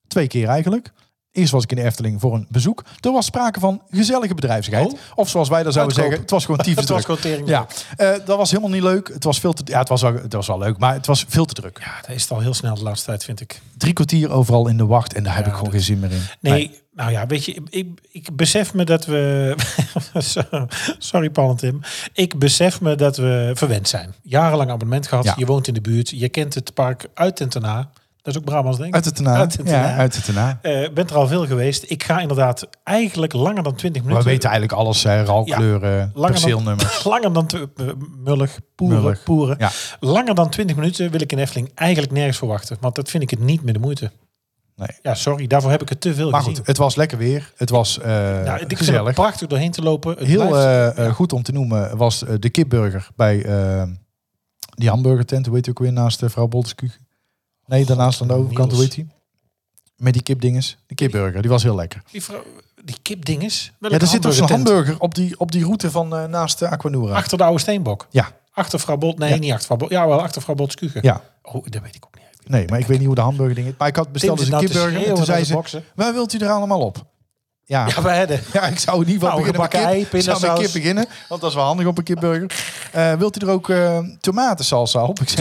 Twee keer eigenlijk. Eerst was ik in de Efteling voor een bezoek. Er was sprake van gezellige bedrijvigheid.
Oh.
Of zoals wij dan zouden
Uitkoop.
zeggen, het was gewoon tyfus
Het was
druk.
gewoon tering.
Ja, eh, dat was helemaal niet leuk. Het was veel te, ja, het was, wel- het was wel leuk, maar het was veel te druk.
Ja, dat is het al heel snel de laatste tijd, vind ik.
Drie kwartier overal in de wacht en daar heb
Ja,
ik gewoon
dat-
geen zin meer in.
Nee, nou ja, weet je, ik- ik, ik besef me dat we... Sorry, Paul en Tim. Ik besef me dat we verwend zijn. Jarenlang abonnement gehad,
Ja.
je woont in de buurt, je kent het park uit en ten na. Dat is ook Brabants, denk ik.
Uit het tenaar.
Uit het
Ja,
ernaar.
uit het tenaar.
Eh, bent er al veel geweest. Ik ga inderdaad eigenlijk langer dan 20
Maar
minuten.
we weten eigenlijk alles, hè, ralkleuren,
Langer dan,
perceelnummers.
langer dan tw- eh, mullig, poeren,
Mullig,
poeren.
ja.
Langer dan 20 minuten wil ik in Efteling eigenlijk nergens verwachten. Want dat vind ik het niet meer de moeite.
Nee.
Ja, sorry, daarvoor heb ik het te veel
Maar
gezien.
goed, het was lekker weer. Het was eh,
Ja, ik vind het
gezellig.
prachtig doorheen te lopen. Het
Heel
blijft-
eh, eh, goed om te noemen was eh, de kipburger bij eh, die hamburgertent. Hoe heet die ook weer naast de vrouw Bolteskuug? Nee, daarnaast aan de overkant. Hoe
Niels.
heet die? Met die kipdinges. De kipburger, die was heel lekker.
die, vrouw, die kipdinges.
Ja, er zit toch zo'n
hamburger.
hamburger op die, op die route van eh, naast de Aquanura.
Achter de oude steenbok.
Ja,
Achter vrouw Bolt. Nee,
Ja.
niet achter vrouw Bolt. Ja, wel achter vrouw Bolt Skugen.
ja.
Oh, dat weet ik ook niet. uit.
Nee, maar ik weet niet hoe de hamburger ding is. Maar ik had besteld
Tim
dus
zit
een
nou te
kipburger. En
schreeuwen
toen zei
naar de
ze,
boksen.
waar wilt u er allemaal op? Ja,
Ja, eh, we hadden.
Ja, ik zou in ieder geval
Nou,
beginnen met
gebakken
kip.
ei,
Ik zou met kip
pindasaus.
beginnen, want dat is wel handig op een kipburger. Eh, wilt u er ook eh tomatensalsa op? Ik zeg,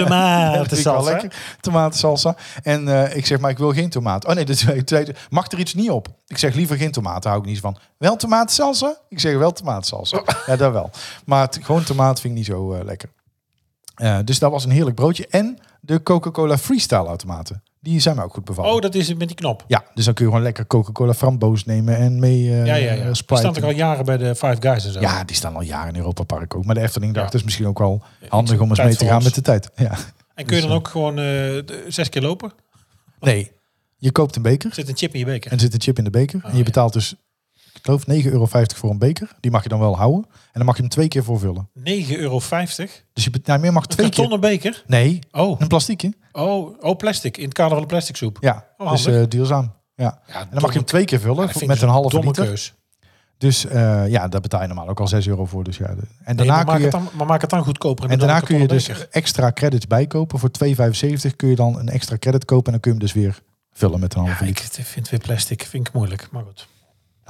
Tomatensalsa.
dat vind ik wel lekker. Tomatensalsa. En eh, ik zeg, maar ik wil geen tomaat. Oh nee, de tweede, tweede- mag er iets niet op? Ik zeg, liever geen tomaten, daar hou ik niet van. Wel tomatensalsa? Ik zeg, wel tomatensalsa. Ja, dat wel. Maar t- gewoon tomaat vind ik niet zo eh, lekker. Eh, dus dat was een heerlijk broodje. En de Coca-Cola Freestyle automaten. Die zijn me ook goed bevallen.
Oh, dat is het met die knop.
Ja, dus dan kun je gewoon lekker Coca-Cola framboos nemen en mee eh
Ja, ja, ja.
eh,
Die
Sprite
staan toch al jaren bij de Five Guys en zo.
ja, die staan al jaren in Europa Park ook. Maar de Efteling dacht,
Ja.
dat is misschien ook wel handig om eens
tijd
mee te
voor
gaan
ons.
met de tijd. Ja.
En kun je
dus,
dan ook gewoon eh, de- zes keer lopen? Er
Nee, je koopt een beker
zit een chip in je beker.
en er zit een chip in de beker.
Oh,
en je betaalt dus, ik geloof, 9,50 euro voor een beker. Die mag je dan wel houden. En dan mag je hem twee keer voorvullen.
9,50 euro. Een
Dus je bet- nou, meer mag twee keer.
kartonnen beker?
Nee,
Oh.
een plastiekje.
oh, oh, plastic. In het kader van de plastic soep.
Ja,
Oh,
dus
handig.
eh, duurzaam. Ja. En dan mag je hem twee keer vullen
Dat
voor-
vind ik
met
dus
een halve
domme
liter.
keus.
Dus eh, ja, daar betaal je normaal ook al 6 euro voor. Dus ja, de- en
Nee,
daarna
maar, maak
kun je...
het dan, maar maak het dan goedkoper.
En
doe dan
daarna
een
kun je dus
kartonnen
extra credits bijkopen. Voor 2,75 kun je dan een extra credit kopen. En dan kun je hem dus weer vullen met een halve
beker.
liter.
Ja, ik vind weer plastic vind ik moeilijk. Maar goed.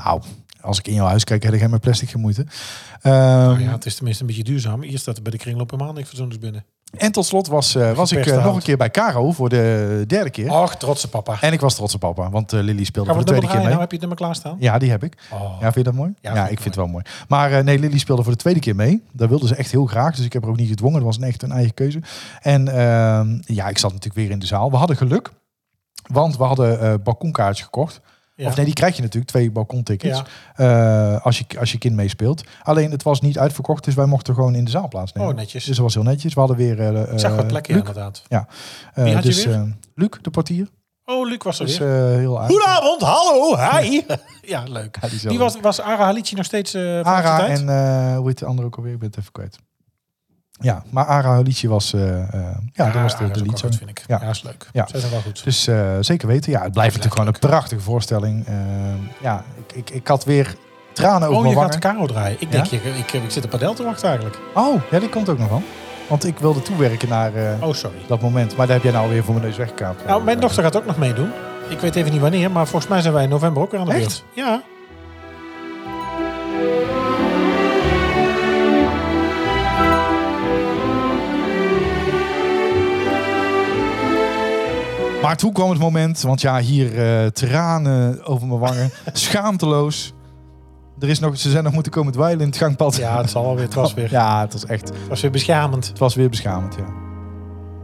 Nou, als ik in jouw huis kijk, heb ik helemaal plastic gemoeite. Ehm, Oh,
Nou ja, het is tenminste een beetje duurzaam. Hier staat er bij de kringloop een maandelijks binnen.
En tot slot was, eh, was ik
Geperste
eh, nog
hout.
een keer bij Caro voor de derde keer.
Och, trotse papa. Gaan
En ik was trots op papa, want eh, Lily
we
speelde
het
voor de
nummer
tweede keer
draaien?
mee.
Nou heb je het nummer klaarstaan.
Ja, die heb ik.
Oh.
Ja, vind je dat mooi? Ja,
Ja, vind
ik
ik
vind het wel mooi. Maar eh, nee, Lily speelde voor de tweede keer mee. Daar wilde ze echt heel graag. Dus ik heb haar ook niet gedwongen. Dat was een echt een eigen keuze. En ehm, ja, ik zat natuurlijk weer in de zaal. We hadden geluk. Want we hadden eh balkonkaartjes gekocht.
Ja.
Of nee, die krijg je natuurlijk. Twee balkontickets. eh, als, je, als je kind meespeelt. Alleen het was niet uitverkocht. Dus wij mochten gewoon in de zaal plaatsnemen.
Oh, netjes.
Dus dat was heel netjes. We hadden weer... eh,
Ik zag wat
eh,
plekken
Luc.
inderdaad.
Eh,
Wie had je
dus,
weer?
eh, Luc, de portier.
Oh, Luc was er
Dus
weer.
eh, heel aardig.
Goedenavond, hallo, hi. Ja, leuk.
Ja, die is wel
Die was, was Ara Halici nog steeds eh van de
Ara
tijd?
en eh, hoe heet de andere ook alweer? Ik ben het even kwijt. Ja, maar Ara hun liedje was, eh, eh, ja, dat was de,
Ara is
de
ook wel goed,
liedje.
vind ik.
Ja.
Ja, is leuk.
Ja.
Zij zijn wel goed.
Dus eh, zeker weten. Ja, het blijft natuurlijk gewoon een prachtige voorstelling. Eh, ja, ik, ik, ik had weer tranen over
Oh, je
mijn
gaat de
wangen.
Karo draaien. Ik denk, je, ik, ik zit op padel te wachten eigenlijk.
Oh, ja, die komt ook nog wel. Want ik wilde toewerken naar eh,
Oh, sorry.
dat moment. Maar daar heb jij nou weer voor mijn neus weggekaapt.
Nou, mijn dochter gaat ook nog meedoen. Ik weet even niet wanneer, maar volgens mij zijn wij in november ook weer aan de
Echt?
beurt. Ja.
Maar toen kwam het moment, want ja, hier eh, tranen over mijn wangen. schaamteloos. Er is nog, ze zijn nog moeten komen dweilen in het gangpad.
Ja, het zal wel weer. Het was weer,
Ja, het was echt, het
het was weer beschamend.
was weer beschamend, ja.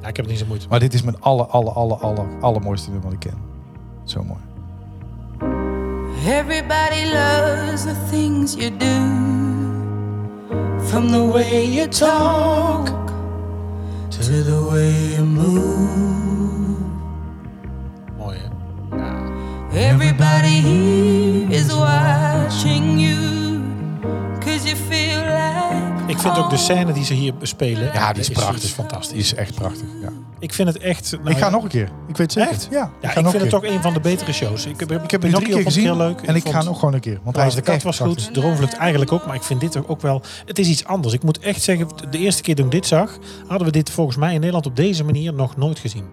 Ja, ik heb het niet zo moeite.
Maar dit is mijn alle, alle, alle, alle, allermooiste nummer dat ik ken. Zo mooi.
Everybody loves the things you do. From the way you talk to the way you move.
Mooi, hè?
Everybody here is watching you. Cause you feel like
Ik vind ook de scène die ze hier spelen.
Ja, die is prachtig. Die
fantastisch.
is echt prachtig. Ja.
het. Ik vind het echt. nou
ik ga
ja,
nog een keer. Ik weet het zeker.
Echt?
Ja,
Ja,
ga
ik
nog
vind
een
het
keer.
ook een van de betere shows. Ik heb, ik heb
Ik heb
Pinocchio
drie keer
vond ik
gezien
heel leuk.
en ik ga
vond-
nog gewoon een keer. Want hij
Trouwens,
is
de
de
kat was goed. Droomvlucht eigenlijk ook. Maar ik vind dit ook wel... Het is iets anders. Ik moet echt zeggen, de eerste keer toen ik dit zag... hadden we dit volgens mij in Nederland op deze manier nog nooit gezien.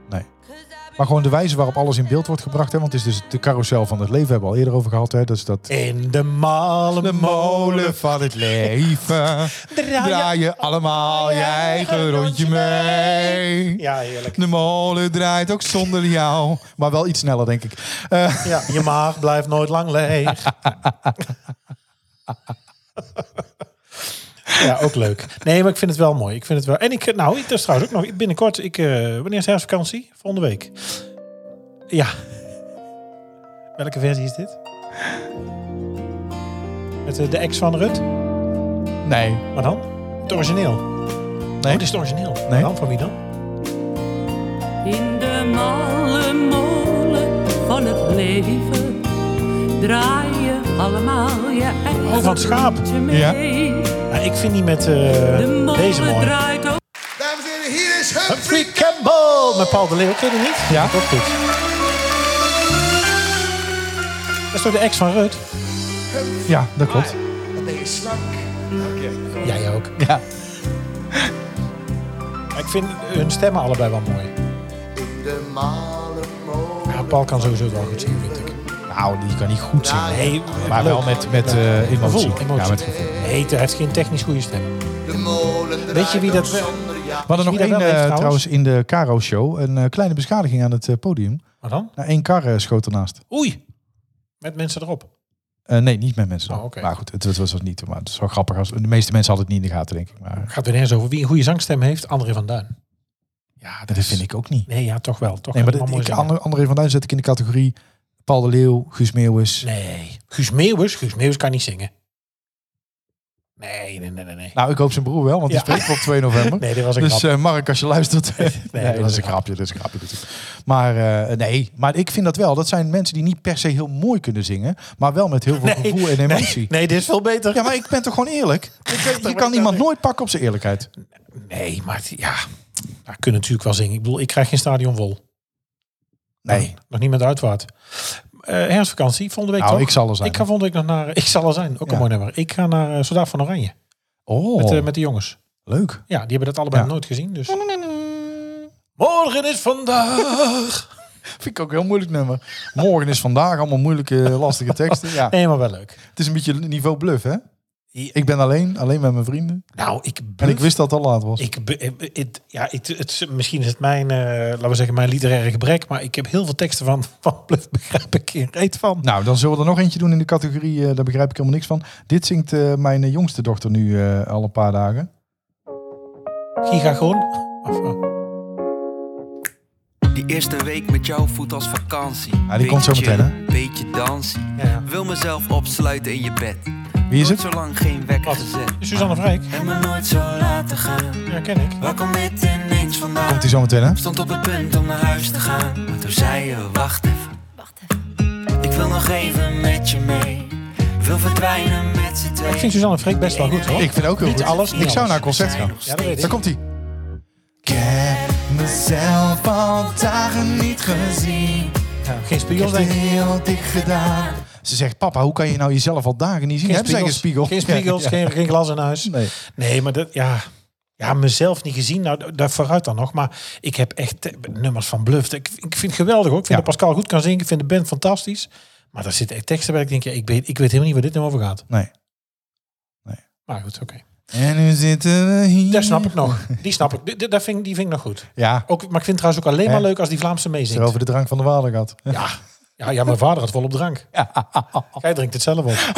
Maar gewoon de wijze waarop alles in beeld wordt gebracht. Hè? Want het is dus de carousel van het leven. Hebben we al eerder over gehad. Hè? Dat is dat...
In de malen molen.
van het leven.
Draai
je allemaal je eigen rondje mee.
Ja, heerlijk.
De molen draait ook zonder jou. Maar wel iets sneller, denk ik. Eh,
Ja, je maag blijft nooit lang leeg. Ja, ook leuk. Nee, maar ik vind het wel mooi. Ik vind het wel. En ik, nou, ik, dat is trouwens ook nog binnenkort. Ik, eh, wanneer is de herfstvakantie? Volgende week. Ja. Welke versie is dit? Met eh, de ex van Rut?
nee.
Maar dan? Het origineel. Oh, dit is het origineel. Maar dan? Van wie dan?
In de malle molen van het leven draai je allemaal je eigen
Oh, van het schaap.
rondje mee.
Ja.
Ja, ik vind die met eh,
De molen
deze mooi.
draait ook
Dames en heren, hier is
Humphrey Campbell Oh, met Paul de Leeuw. Ken je die niet?
Ja.
Dat goed. Dat is toch de ex van Rut?
Ja, dat klopt.
Jij ook.
Ja.
Ik vind hun stemmen allebei wel mooi. Ja, Paul kan sowieso het wel goed zingen, vind ik.
Nou, die kan niet goed zingen.
Nee,
Maar wel met, met eh, emotie.
Gevoel, emotie.
Ja, met gevoel.
Nee, hij heeft geen technisch goede stem. Weet je wie dat wel...
We hadden nog
Wie
één
dat wel
eh,
heeft, trouwens?
trouwens? in de Caro-show. Een eh, kleine beschadiging aan het eh, podium.
Maar dan?
Nou, één kar eh, schoot ernaast.
Oei! Met mensen erop.
Eh, nee, niet met mensen. dan.
Oh, oké.
Maar goed, het, het was dat niet. Maar het is wel grappig. Als, de meeste mensen hadden het niet in de gaten, denk ik. Maar
Gaat weer nergens over wie een goede zangstem heeft. André van Duin.
ja, dat vind ik ook niet.
Nee, ja, toch wel. Toch
Nee, maar
kan
dit-
hij
ik,
wel mooi
Ander- André van Duin zet ik in de categorie Paul de Leeuw, Guus Meeuwis.
zingen. Nee. Guus Meeuwis? Guus Meeuwis kan niet zingen. Nee, nee, nee, nee. nee.
Nou, ik hoop zijn broer wel, want
Ja.
die spreekt op 2 november.
Nee, dit was een
dus
grap.
eh, Mark, als je luistert... nee,
dat
dat
was
is een grapje, dat is een grapje. dat is- Maar eh, nee, maar ik vind dat wel. Dat zijn mensen die niet per se heel mooi kunnen zingen, maar wel met heel veel gevoel en eh, emotie.
Nee, nee, dit is veel beter.
Ja, maar ik ben toch gewoon eerlijk? Je- Je kan iemand nooit pakken op zijn eerlijkheid.
Nee, maar het- ja. Nou, kunnen natuurlijk wel zingen. Ik bedoel, ik krijg geen stadion vol.
Nee.
Nog niet met de uitvaart. Eh herfstvakantie, volgende week
Nou,
toch?
ik zal er zijn.
Ik ga volgende week nog naar... Ik zal er zijn, ook
Ja.
een mooi nummer. Ik ga naar eh Soldaat van Oranje.
Oh,
Met, eh, met de jongens.
leuk.
Ja, die hebben dat allebei
Ja.
nog nooit gezien. Dus. Morgen is vandaag.
Vind ik ook een heel moeilijk nummer. Morgen is vandaag allemaal moeilijke, lastige teksten. Ja,
Nee, maar wel leuk.
het is een beetje niveau bluff, hè? Ik ben alleen, alleen met mijn vrienden.
Nou, ik
En ik
wist.
wist dat het al laat was.
Ik, be- eh, het, ja, het, het, misschien is het mijn, eh, laten we zeggen, mijn literaire gebrek, maar ik heb heel veel teksten van van Bluff begrijp ik geen reet van.
Nou, dan zullen we er nog eentje doen in de categorie, eh, daar begrijp ik helemaal niks van. Dit zingt eh, mijn eh, jongste dochter nu eh, al een paar dagen.
Giga gewoon. Of, eh,
Die eerste week met jou voelt als vakantie.
Ja, die komt zo meteen, hè?
Beetje dansie.
ja, ja.
Wil mezelf opsluiten in je bed.
Wie is
Nooit
het?
zo lang geen wekker
Wat?
gezet.
Suzanne Vrijk.
En me nooit zo laten gaan.
Ja, ken ik.
Waar komt dit ineens vandaan?
Komt hij zo meteen, hè?
Stond op het punt om naar huis te gaan. Maar toen zei je, wacht even. Ik wil nog even met je mee. Wil verdwijnen met z'n tweeën.
Ik vind Suzanne Vrijk best wel goed, hoor.
Ik vind het ook heel
Niet
goed.
alles, niet
ik zou
alles.
naar een concert gaan.
Ja, dat weet
Daar
ik.
komt hij. Ik heb mezelf al dagen niet gezien.
Ja, geen spiegels, denk ik.
heel dik gedaan. Ze zegt, papa, hoe kan je nou jezelf al dagen niet zien? Hebben zij geen spiegel?
Geen spiegels,
Ja.
geen, geen glas in huis.
Nee.
Nee, maar dat, ja. Ja, mezelf niet gezien. Nou, da- daar vooruit dan nog. Maar ik heb echt eh, nummers van Bluff. Ik, ik vind het geweldig hoor. Ik vind
Ja.
dat Pascal goed kan zingen. Ik vind de band fantastisch. Maar daar zitten echt teksten bij. Ik denk, ja, ik, weet, ik weet helemaal niet waar dit nou over gaat.
nee.
Maar goed, oké.
En nu zitten we hier.
Daar snap ik nog. Die snap ik. Die, vind, ik- die vind ik nog goed.
Ja,
Ook, maar ik vind het trouwens ook alleen maar
Hè?
leuk als die Vlaamse
terwijl
meezingt.
over de drank van de waarde gaat.
Ja. Ja, ja, mijn vader had vol op drank. Hij drinkt het zelf op.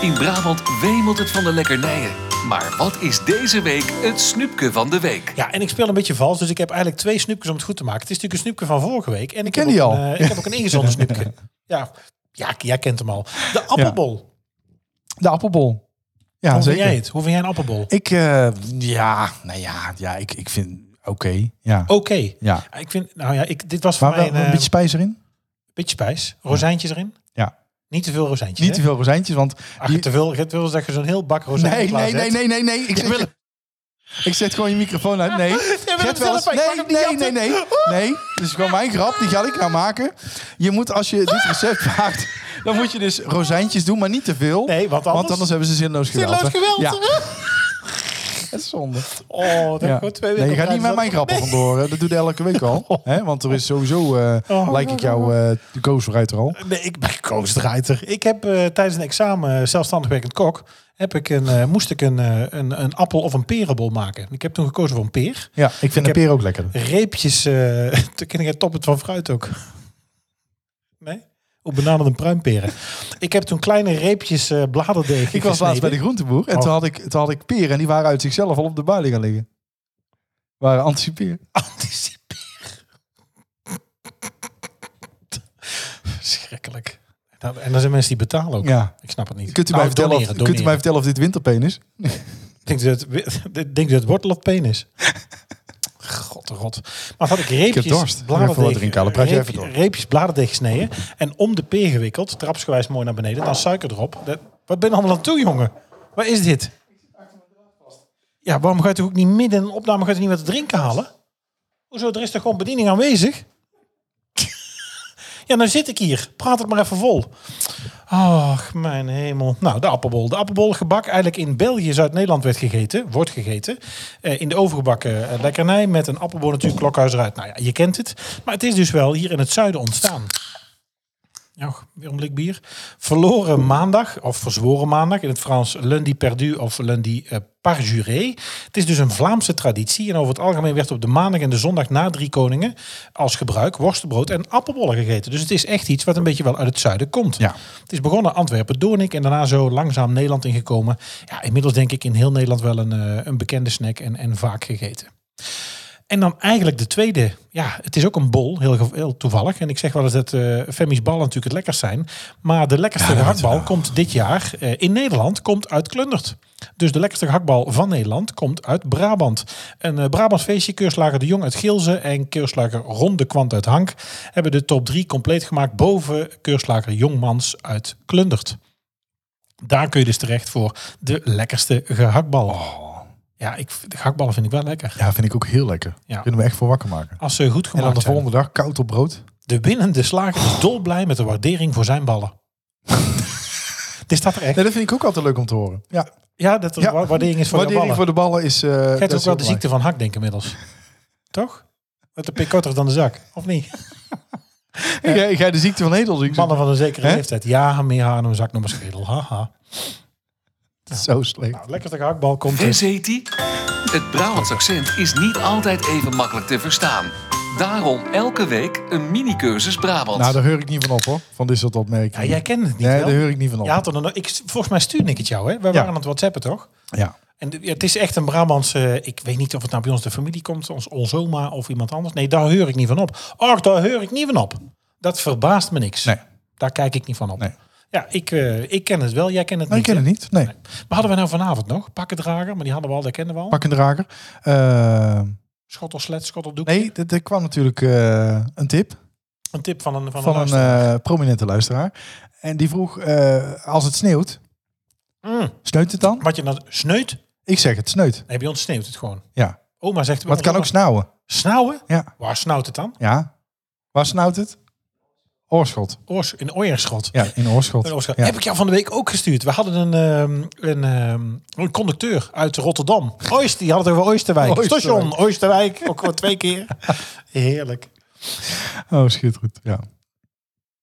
In Brabant wemelt het van de lekkernijen. Maar wat is deze week het snoepje van de week?
Ja, en ik speel een beetje vals, dus ik heb eigenlijk twee snoepjes om het goed te maken. Het is natuurlijk een snoepje van vorige week. En ik,
ken
heb
die
ook
al.
Een, eh, ik heb ook een ingezonden snoepje. Ja, ja, k- jij kent hem al. De appelbol.
De appelbol. Ja,
Hoe vind
zeker.
jij het? Hoe vind jij een appelbol? Oké.
Ik, eh, ja, nou ja, ja ik, ik vind, oké, ja. Ja,
Ik vind, nou ja, ik, dit was voor
maar
Oh, mij
wel
een,
een beetje
beetje,
spijs erin.
beetje spijs. Rozijntjes erin.
Ja.
Niet te veel rozijntjes.
Niet te
hè?
veel rozijntjes, want...
Ach,
die-
te veel. Gert wil zeggen zo'n heel bak rozijntjes.
nee, nee,
klaar
nee,
zet.
nee, nee, nee. Ik zet, je- ik zet gewoon je microfoon uit. Nee. Zet wel eens-
Philip, ik
nee, nee, nee, nee, nee. Dit is gewoon mijn grap. Die ga ik nou maken. Je moet, als je dit recept maakt, dan moet je dus rozijntjes doen, maar niet te veel.
Nee, want anders-
Want anders hebben ze zinloos geweld.
Zinloos
hè?
geweld.
Ja. Dat is zonde.
Oh, dat
Ja.
gewoon twee
Nee,
weken
je gaat niet
opdraaien.
met mijn grappen vandoor. hè. Dat doet hij elke week al. hè? Want er is sowieso, eh
Oh,
lijk ik jou, eh, de koos vooruit er al.
Nee, ik ben koosdraaiter. Ik heb eh, tijdens een examen eh, zelfstandig werkend kok... Heb ik een, eh, moest ik een, eh, een, een appel of een perenbol maken. Ik heb toen gekozen voor een peer.
Ja, ik vind de
heb-
peer ook lekker.
Reepjes, eh toen ken ik het toppet van fruit ook. Nee? Op bananen en pruimperen. ik heb toen kleine reepjes eh bladerdeeg
Ik was laatst bij de
gesneden.
groenteboer en
Oh.
toen, had ik, toen had ik peren en die waren uit zichzelf al op de builen gaan liggen. Waren anticiperen.
Anticipeer. Schrikkelijk. Dat- En dan zijn mensen die betalen ook.
Ja.
Ik snap het niet.
Kunt u,
Nou,
mij vertellen,
doneren,
of, kunt u mij
doneren.
vertellen of dit winterpeen is?
Denk je dat, denk je dat het wortel of peen is? God, oh god. Maar had ik reepjes,
Ik heb dorst. Even wat
bladerdeeg,
drinken, Alan. Praat jij
reep-
even door. Oh.
reepjes bladerdeeg gesneden en om de peer gewikkeld, trapsgewijs mooi naar beneden, dan suiker erop. Dat, wat ben je allemaal aan toe, jongen? Waar is dit? Ja, waarom gaat u ook niet midden in een opname gaat u niet wat te drinken halen? Hoezo, er is toch gewoon bediening aanwezig? ja, nou zit ik hier. Praat het maar even vol. Ach, mijn hemel. Nou, de appelbol. De appelbol gebak eigenlijk in België, Zuid-Nederland werd gegeten. Wordt gegeten. Eh, in de overgebakken eh, lekkernij met een appelbol natuurlijk klokhuis eruit. Nou ja, je kent het. Maar het is dus wel hier in het zuiden ontstaan. Och, weer een blik bier. Verloren maandag, of verzworen maandag, in het Frans lundi perdu of lundi eh, parjuré. Het is dus een Vlaamse traditie en over het algemeen werd op de maandag en de zondag na drie koningen als gebruik worstenbrood en appelbollen gegeten. Dus het is echt iets wat een beetje wel uit het zuiden komt.
Ja.
Het is begonnen Antwerpen, Doornik en daarna zo langzaam Nederland ingekomen. Ja, inmiddels denk ik in heel Nederland wel een, eh, een bekende snack en, en vaak gegeten. En dan eigenlijk de tweede. Ja, het is ook een bol, heel, ge- heel toevallig. En ik zeg wel eens dat eh Femi's ballen natuurlijk het lekkerst zijn. Maar de lekkerste gehaktbal komt dit jaar eh, in Nederland komt uit Klundert. Dus de lekkerste gehaktbal van Nederland komt uit Brabant. Een eh, Brabants feestje, Keurslager de Jong uit Geelze en Keurslager Ronde Kwant uit Hank... hebben de top drie compleet gemaakt boven Keurslager Jongmans uit Klundert. Daar kun je dus terecht voor de lekkerste gehaktbal. Ja, ik, de gehaktballen vind ik wel lekker.
Ja, vind ik ook heel lekker.
Ja.
Kunnen we echt voor wakker maken.
Als ze goed
En dan
gemaakt
de
zijn.
volgende dag koud op brood.
De winnende slager is dolblij met de waardering voor zijn ballen. Dit staat er echt.
Nee, dat vind ik ook altijd leuk om te horen. Ja,
Ja, dat de
Ja.
wa- waardering is voor jouw
waardering
ballen.
voor de ballen is... eh dat is
Gert ook wel
heel
de ziekte van hak, denk ik inmiddels. Toch? Met de pik korter dan de zak, of niet?
belangrijk. Ik ga- Ik ga de ziekte van Hedel
Mannen van een zekere
Hè?
leeftijd. Ja, meer haar dan een zak dan een schedel. Haha.
Zo slecht.
Nou, lekkerste hakbal komt
Vis
dus.
heet die? Het Brabants accent is niet altijd even makkelijk te verstaan. Daarom elke week een mini-cursus Brabant.
Nou, daar heur ik niet van op hoor. Van dit soort opmerkingen.
Ja, jij kent het niet,
Nee,
wel?
daar heur ik niet van op.
Je had er dan, ik, volgens mij stuurde ik het jou, hè? Wij
Ja.
waren aan het whatsappen, toch?
Ja.
En de- ja, het is echt een Brabantse... Ik weet niet of het nou bij ons de familie komt. Ons, ons oma of iemand anders. Nee, daar heur ik niet van op. Och, daar heur ik niet van op. Dat verbaast me niks.
Nee.
Daar kijk ik niet van op.
Nee.
Ja, ik, eh, ik ken het wel. Jij kent het
Nee, ik
niet.
ken het
hè?
niet. Nee.
Maar hadden we nou vanavond nog? Pakkendrager, maar die hadden we al, dat kennen we al.
Pak een drager. Eh,
Schottelslet, schotteldoek.
nee, d- er kwam natuurlijk eh, een tip
Een tip van een, van
van
een,
een eh, prominente luisteraar. En die vroeg, eh, als het sneeuwt, eh,
luisteraar. Mm,
sneuwt het dan?
Wat je dan sneut?
Ik zeg het sneeuwt.
Nee, bij ons sneeuwt het gewoon.
Ja.
Oma zegt...
Maar het kan ook snauwen.
Snauwen?
Ja.
Waar snauwt het dan?
Ja. Waar snauwt het? Oorschot.
Oors, in Oierschot.
Ja, in Oorschot.
Een Oscar.
Ja.
Heb ik jou van de week ook gestuurd. We hadden een, ehm, een, ehm, een conducteur uit Rotterdam. Oost, die had het over Oosterwijk.
Oosterwijk.
Station Oosterwijk. Ook gewoon twee keer. Heerlijk.
Oh, schitterend. Ja.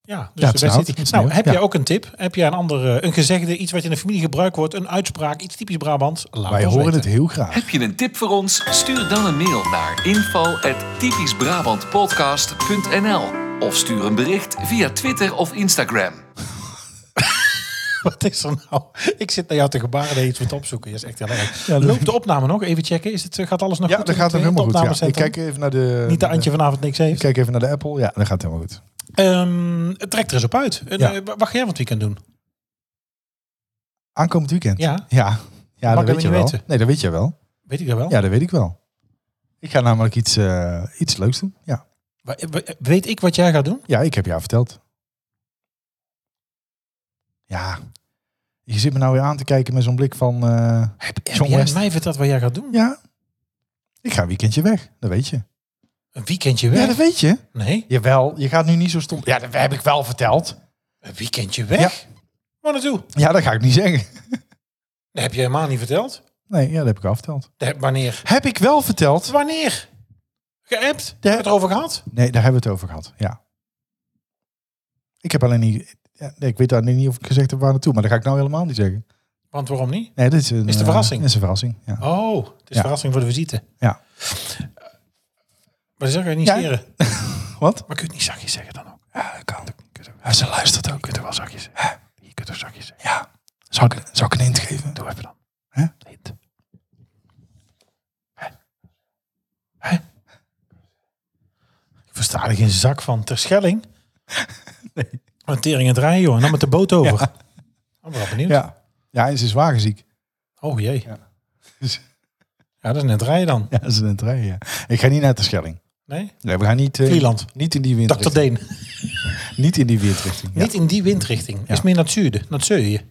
Ja, dus
Ja,
de
het
beste
snauwt.
city.
Het
Nou,
sneeuwt,
heb
ja.
jij ook een tip? Heb jij een andere, een gezegde, iets wat in de familie gebruikt wordt, een uitspraak, iets typisch Brabants? Laat
Wij
ons
horen
weten.
het heel graag.
Heb je een tip voor ons? Stuur dan een mail naar info.typischbrabantpodcast.nl of stuur een bericht via Twitter of Instagram.
Wat is er nou? Ik zit naar jou te gebaren dat je iets moet opzoeken. Dat is echt heel erg.
Ja, dat-
Loopt de opname nog? Even checken. Is het, gaat alles nog
Ja,
goed?
dat
in
gaat
het,
hem
eh,
helemaal
het
goed. Ja. Ik
opnamecentrum?
kijk even naar de...
Niet de Antje vanavond niks
Ik
heeft.
kijk even naar de Apple. Ja, dat gaat helemaal goed.
Ehm, het trekt er eens op uit. En,
Ja.
eh, wat ga jij van het weekend doen?
Aankomend weekend?
Ja.
Ja, ja dat
mag ik
weet je
helemaal
wel.
niet weten.
Nee, dat weet je wel.
Weet ik dat wel?
Ja, dat weet ik wel. Ik ga namelijk iets, eh, iets leuks doen. Ja.
Wa- wa- Weet ik wat jij gaat doen?
ja, ik heb jou verteld. Ja, je zit me nou weer aan te kijken met zo'n blik van... eh,
Heb, heb
John
jij
West.
mij verteld wat jij gaat doen?
ja, ik ga een weekendje weg. Dat weet je.
Een weekendje weg?
Ja, dat weet je.
Nee,
Jawel, je gaat nu niet zo stom... Ja, dat heb ik wel verteld.
een weekendje weg? Waar naartoe?
Ja, dat ga ik niet zeggen.
Dat heb je helemaal niet verteld.
Nee, ja, dat heb ik al verteld.
Dat heb- wanneer?
Heb ik wel verteld?
Wanneer? Geappt? Heb je
Ja.
het erover gehad?
Nee, daar hebben we het over gehad. Ja. Ik heb alleen niet. ja, nee, ik weet alleen niet of ik gezegd heb waar naartoe, maar dat ga ik nou helemaal niet zeggen.
Want waarom niet?
Nee, dit is een,
Is de
eh,
verrassing?
Dit is een verrassing. Ja.
Oh, het is
Ja.
verrassing voor de visite.
Ja.
Maar dat kan je niet
Ja.
scheren.
Wat?
Maar kun je het niet zachtjes zeggen dan ook?
Ja, dat kan.
Ja, ze luistert ook. Je kunt er wel zachtjes zeggen. Je kunt er zachtjes zeggen.
Ja. Zou ik, zou ik een hint geven?
Doe even dan.
Hè?
Hint. Hè? Hè? Ik versta er geen zak van. Terschelling? Nee. Tering en draaien, joh. En dan met de boot over.
Ja.
Oh, ik ben wel benieuwd.
Ja. Ja, en ze is wagenziek.
Oh jee.
Ja.
Ja, dat is net rijden dan.
Ja, ze is een trein, ja. Ik ga niet naar de Schelling.
Nee?
Nee, we gaan niet... eh,
Vlieland.
Niet in die
Dr.
windrichting.
Deen.
Niet in die windrichting. Ja.
Niet in die windrichting. Is meer naar het zuiden. Naar het zuiden.